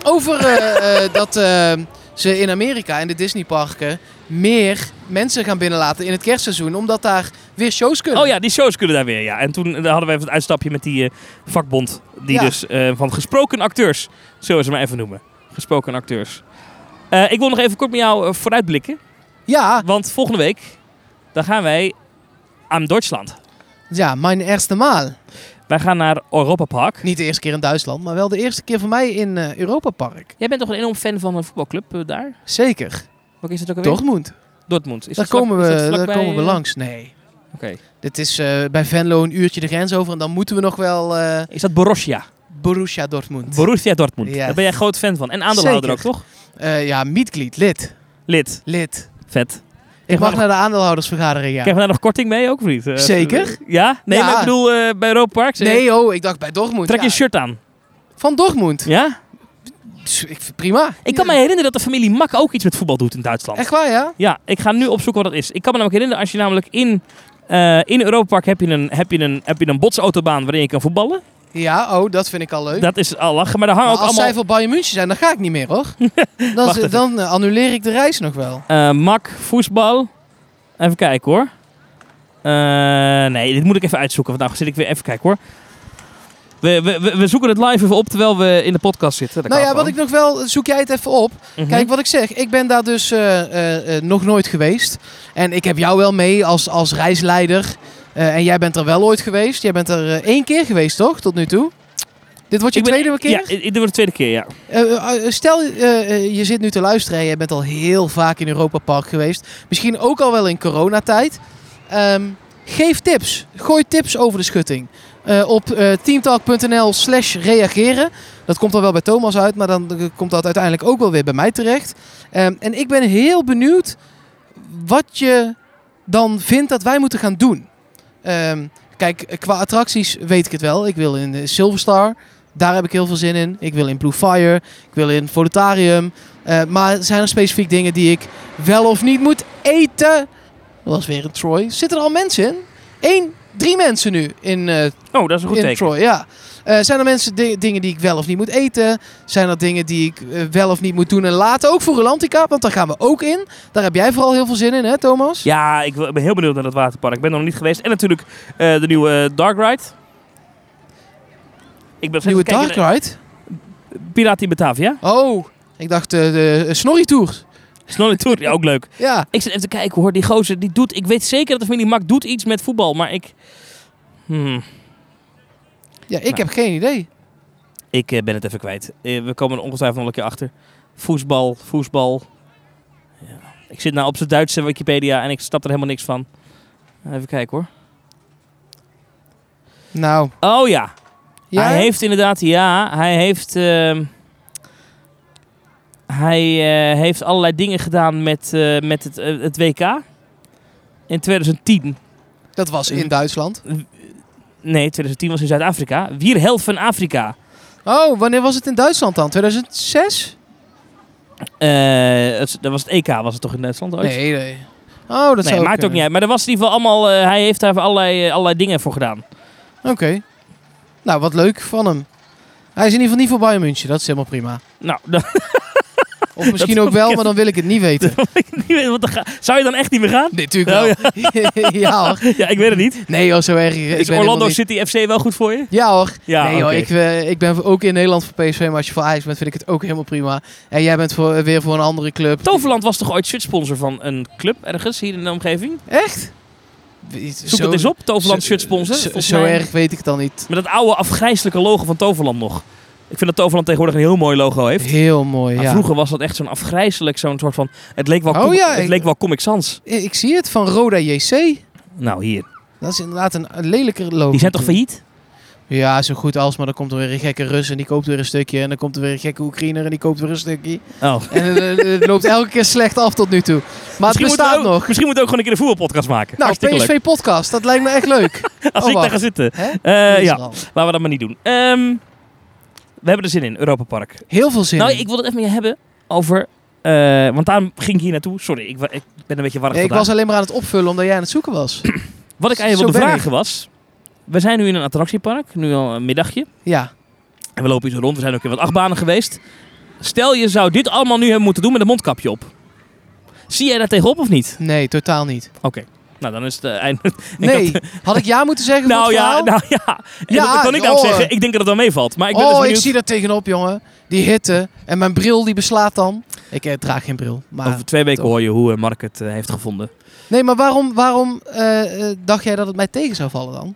S2: Over eh, eh, dat eh, ze in Amerika, in de Disneyparken, meer mensen gaan binnenlaten in het kerstseizoen. Omdat daar weer shows kunnen.
S3: Oh ja, die shows kunnen daar weer. Ja. En toen eh, hadden we even het uitstapje met die eh, vakbond. Die
S2: Ja.
S3: dus eh, van gesproken acteurs, zullen we ze maar even noemen. Gesproken acteurs. Eh, ik wil nog even kort met jou eh, vooruitblikken.
S2: Ja,
S3: Want volgende week, dan gaan wij aan Duitsland.
S2: ja, mijn eerste maal.
S3: Wij gaan naar Europa Park.
S2: Niet de eerste keer in Duitsland, maar wel de eerste keer voor mij in eh, Europa Park.
S3: Jij bent toch een enorm fan van een voetbalclub eh, daar?
S2: Zeker.
S3: Wat is dat ook alweer?
S2: Dortmund.
S3: Dortmund.
S2: Daar
S3: Is dat vlak-
S2: komen,
S3: is
S2: we,
S3: dat vlak
S2: daar
S3: bij,
S2: komen we
S3: eh,
S2: langs. Nee.
S3: Oké.
S2: Dit is eh, bij Venlo een uurtje de grens over en dan moeten we nog wel eh,
S3: Is dat Borussia?
S2: Borussia Dortmund.
S3: Borussia Dortmund.
S2: Ja.
S3: Daar ben jij groot fan van. En aandeelhouder ook,
S2: Zeker.
S3: toch?
S2: Eh, ja, Mitglied, lid.
S3: Lid.
S2: Lid.
S3: Vet.
S2: Ik
S3: mag
S2: mag
S3: nog-
S2: naar de aandeelhoudersvergadering, ja.
S3: Krijgen we daar nog korting mee ook, of niet? Eh,
S2: Zeker.
S3: Ja? Nee,
S2: Ja.
S3: maar ik bedoel eh, bij Europa Park. zeg-
S2: Nee, oh, ik dacht bij Dortmund.
S3: Trek je
S2: ja.
S3: een shirt aan.
S2: Van Dortmund.
S3: Ja?
S2: Pss, Ik vind- Prima.
S3: Ik kan me herinneren dat de familie Mak ook iets met voetbal doet in Duitsland.
S2: Echt waar, ja?
S3: Ja, ik ga nu opzoeken wat dat is. Ik kan me namelijk herinneren, als je namelijk in, eh in Europa Park heb je, een, heb, je een, heb je een botsautobaan waarin je kan voetballen.
S2: Ja, oh, dat vind ik al leuk.
S3: Dat is al lachen, maar daar hangen
S2: Maar
S3: ook
S2: als zij
S3: allemaal...
S2: voor Bayern München zijn, dan ga ik niet meer, hoor. dan
S3: (laughs) Wacht even.
S2: dan eh, annuleer ik de reis nog wel.
S3: Eh, mak, voetbal. Even kijken hoor. Eh, nee, dit moet ik even uitzoeken. Want nou zit ik weer even kijken hoor. We, we, we- we zoeken het live even op terwijl we in de podcast zitten. Dat
S2: Nou
S3: kan
S2: ja, wat ik
S3: gewoon.
S2: nog wel... Zoek jij het even op.
S3: Mhm.
S2: Kijk, wat ik zeg, ik ben daar dus eh, eh, eh, nog nooit geweest. En ik heb jou wel mee als, als reisleider. Eh, en jij bent er wel ooit geweest. Jij bent er eh, één keer geweest, toch? Tot nu toe. Dit wordt je
S3: Ik ben-
S2: tweede keer?
S3: Ja, dit wordt de tweede keer, ja.
S2: Eh, eh, eh, stel, eh, eh, je zit nu te luisteren en je bent al heel vaak in Europa Park geweest. Misschien ook al wel in coronatijd. Ehm, geef tips. Gooi tips over de schutting. Eh, op eh, teamtalk.nl slash reageren. Dat komt dan wel bij Thomas uit, maar dan eh, komt dat uiteindelijk ook wel weer bij mij terecht. Ehm, en ik ben heel benieuwd wat je dan vindt dat wij moeten gaan doen. Ehm, kijk, eh, qua attracties weet ik het wel. Ik wil in eh, de Silver Star. Daar heb ik heel veel zin in. Ik wil in Blue Fire. Ik wil in Volutarium. Eh, maar zijn er specifiek dingen die ik wel of niet moet eten? Dat was weer een Troy. Zitten er al mensen in? Eén, drie mensen nu in, eh,
S3: Oh, dat is een goed
S2: in
S3: teken.
S2: Troy. Ja. Eh, zijn er mensen di- dingen die ik wel of niet moet eten? Zijn er dingen die ik eh, wel of niet moet doen en laten? Ook voor Rolantica, want daar gaan we ook in. Daar heb jij vooral heel veel zin in, hè Thomas?
S3: Ja, ik wil- ik ben heel benieuwd naar dat waterpark. Ik ben er nog niet geweest. En natuurlijk eh, de nieuwe eh, Dark Ride. Ik ben
S2: Nieuwe
S3: even kijken
S2: Dark Ride.
S3: naar Piraten in Batavia.
S2: Oh, ik dacht eh, de eh, Snorri Tour.
S3: Snelle Tour, ja, ook leuk.
S2: Ja.
S3: (laughs) Ik zit even te kijken hoor, die gozer die doet... Ik weet zeker dat de familie Mak doet iets met voetbal, maar ik... Hmm.
S2: ja, ik
S3: Nou.
S2: heb geen idee.
S3: Ik eh, ben het even kwijt. Eh, we komen er ongetwijfeld nog een keer achter. Voetbal, voetbal. Ja. Ik zit nou op zijn Duitse Wikipedia en ik snap er helemaal niks van. Even kijken hoor.
S2: Nou,
S3: Oh ja,
S2: ja,
S3: Hij heeft inderdaad, ja, hij heeft, ehm, hij, eh, heeft allerlei dingen gedaan met, eh, met het, eh, het WK. In 2010,
S2: dat was in Duitsland.
S3: nee, 2010 was in Zuid-Afrika. Wir helfen Afrika.
S2: Oh, wanneer was het in Duitsland dan? 2006?
S3: Eh, het- dat was het EK, was het toch in Duitsland ooit?
S2: Nee, nee. Oh, dat
S3: Nee,
S2: zou
S3: maakt ook niet uit. Maar er was in ieder geval allemaal, eh, hij heeft daar allerlei, eh, allerlei dingen voor gedaan.
S2: Oké. Nou, wat leuk van hem. Hij is in ieder geval niet voor Bayern München. Dat is helemaal
S3: (laughs)
S2: prima.
S3: Nou, dat,
S2: Of misschien
S3: hoop
S2: ook wel,
S3: ik
S2: maar dan wil ik het niet
S3: (laughs)
S2: weten.
S3: dat ik niet weet, want dan ga- zou je dan echt niet meer gaan?
S2: Nee, natuurlijk wel. (laughs) Ja, hoor.
S3: Oh, Ja, ik weet het niet.
S2: Nee hoor, zo erg. Ik ben
S3: Is
S2: helemaal
S3: Orlando
S2: niet-
S3: City FC wel goed voor je?
S2: Ja hoor.
S3: Ja,
S2: nee hoor,
S3: oké.
S2: ik, eh, ik ben ook in Nederland voor PSV, maar als je voor Ajax bent vind ik het ook helemaal prima. En jij bent voor, weer voor een andere club.
S3: Toverland was toch ooit shirtsponsor van een club ergens hier in de omgeving?
S2: Echt?
S3: Zoek het eens op, Toverland
S2: zo-
S3: shirtsponsor.
S2: Zo,
S3: volgens
S2: zo
S3: mij.
S2: erg weet ik het dan niet.
S3: Met dat oude afgrijzelijke logo van Toverland nog. Ik vind dat Toverland tegenwoordig een heel mooi logo heeft.
S2: Heel mooi,
S3: Maar
S2: ja.
S3: Vroeger was dat echt zo'n afgrijzelijk, zo'n soort van... Het leek wel,
S2: Oh
S3: com-
S2: ja,
S3: het
S2: ik-
S3: leek wel Comic Sans.
S2: I- Eh, Ik zie het van Roda JC.
S3: Nou, hier.
S2: Dat is inderdaad een, een lelijker logo.
S3: Die zijn toch failliet?
S2: Ja, zo goed als, maar dan komt er weer een gekke Rus en die koopt weer een stukje. En dan komt er weer een gekke Oekraïner en die koopt weer een stukje.
S3: Oh.
S2: En eh, eh, het loopt elke keer slecht af tot nu toe. Maar het
S3: Misschien moeten we
S2: bestaat
S3: ook-
S2: nog.
S3: Misschien moeten we ook gewoon een keer een voetbalpodcast maken.
S2: Nou,
S3: Hartstikke leuk.
S2: PSV-podcast, dat lijkt me echt leuk.
S3: Als
S2: oh,
S3: ik daar
S2: wacht.
S3: ga zitten.
S2: Hè?
S3: (laughs) Eh,
S2: Die is
S3: ja,
S2: er al.
S3: laten we dat maar niet doen. Ehm, we hebben er zin in, Europa Park.
S2: Heel veel zin
S3: Nou,
S2: in.
S3: ik wil het even met je hebben over... eh, want daarom ging ik hier naartoe. Sorry, ik, wa- ik ben een beetje warm
S2: Nee, ik
S3: vandaag.
S2: was alleen maar aan het opvullen omdat jij aan het zoeken
S3: (clears throat)
S2: was.
S3: Wat ik aan je
S2: Zo
S3: wilde
S2: ben
S3: vragen was... We zijn nu in een attractiepark, nu al een middagje.
S2: Ja,
S3: En we lopen hier zo rond, we zijn ook in wat achtbanen geweest. Stel, je zou dit allemaal nu hebben moeten doen met een mondkapje op. Zie jij daar tegenop of niet?
S2: nee, totaal niet.
S3: Oké. Nou, dan is het eh, einde. (laughs) Ik
S2: Nee,
S3: had-
S2: had ik ja moeten zeggen? voor
S3: nou,
S2: het
S3: ja,
S2: verhaal?
S3: nou ja, En
S2: Ja,
S3: dat kan ik nou
S2: joh.
S3: zeggen. Ik denk dat het wel meevalt. Maar ik ben dus
S2: oh, ik
S3: benieuwd.
S2: zie daar tegenop, jongen. Die hitte en mijn bril die beslaat dan. Ik eh, draag geen bril. Maar...
S3: Over twee weken
S2: toch.
S3: hoor je hoe eh, Mark het eh, heeft gevonden.
S2: Nee, maar waarom, waarom eh, eh, dacht jij dat het mij tegen zou vallen dan?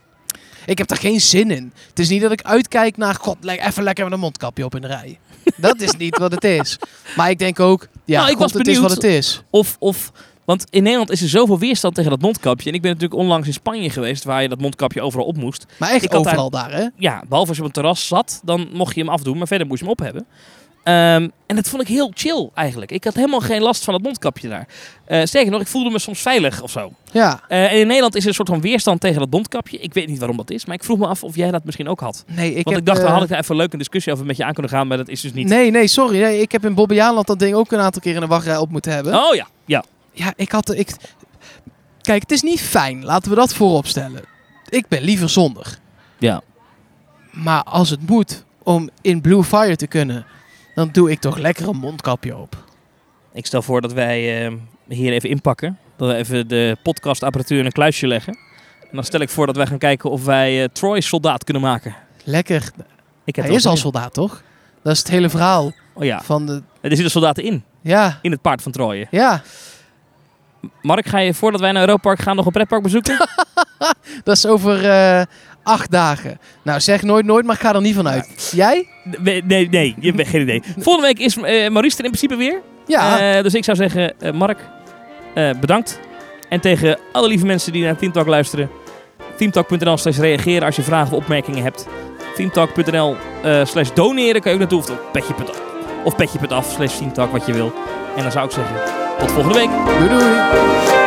S2: Ik heb daar geen zin in. Het is niet dat ik uitkijk naar, god, le- even lekker met een mondkapje op in de rij. Dat is niet wat het is. Maar ik denk ook, ja,
S3: Nou, ik
S2: god,
S3: was
S2: het is wat
S3: benieuwd.
S2: het is.
S3: Of, of, want in Nederland is er zoveel weerstand tegen dat mondkapje. En ik ben natuurlijk onlangs in Spanje geweest, waar je dat mondkapje overal op moest.
S2: Maar echt
S3: Ik had
S2: overal daar, hè?
S3: ja, behalve als je op een terras zat, dan mocht je hem afdoen, maar verder moest je hem op hebben. Ehm, en dat vond ik heel chill eigenlijk. Ik had helemaal geen last van dat mondkapje daar. Eh, sterker nog, ik voelde me soms veilig of zo.
S2: Ja.
S3: Eh, en in Nederland is er een soort van weerstand tegen dat mondkapje. Ik weet niet waarom dat is, maar ik vroeg me af of jij dat misschien ook had.
S2: Nee, ik
S3: Want
S2: heb,
S3: ik dacht,
S2: eh,
S3: daar had ik daar even een leuke discussie over met je aan kunnen gaan, maar dat is dus niet.
S2: Nee, nee, sorry. Nee, ik heb in Bobbejaanland dat ding ook een aantal keer in de wachtrij op moeten hebben.
S3: Oh ja, ja.
S2: Ja, ik had... Ik... Kijk, het is niet fijn. Laten we dat voorop stellen. Ik ben liever zonder.
S3: Ja.
S2: Maar als het moet om in Blue Fire te kunnen, dan doe ik toch lekker een mondkapje op.
S3: Ik stel voor dat wij eh, hier even inpakken. Dat we even de podcastapparatuur in een kluisje leggen. En dan stel ik voor dat wij gaan kijken of wij eh, Troy soldaat kunnen maken.
S2: Lekker.
S3: Ik heb
S2: Hij
S3: wel
S2: is al
S3: zin
S2: soldaat, toch? Dat is het hele verhaal
S3: in. Oh ja,
S2: van de...
S3: er zitten soldaten in.
S2: Ja,
S3: In het paard van Troje.
S2: ja.
S3: Mark, ga je voordat wij naar Europa Park gaan nog een
S2: (laughs)
S3: pretpark bezoeken?
S2: Dat is over eh, acht dagen. Nou, zeg nooit nooit, maar ik ga er niet van uit. Jij?
S3: nee, nee, nee, je hebt geen idee. Volgende week is eh, Maurice er in principe weer.
S2: Ja.
S3: Eh, dus ik zou zeggen, eh, Mark, eh, bedankt. En tegen alle lieve mensen die naar Teamtalk luisteren. Teamtalk.nl slash reageren als je vragen of opmerkingen hebt. Teamtalk.nl eh, slash doneren kan je ook naartoe. Of tot petje.af of petje.af slash Teamtalk wat je wil. En dan zou ik zeggen, tot volgende week.
S2: Doei doei.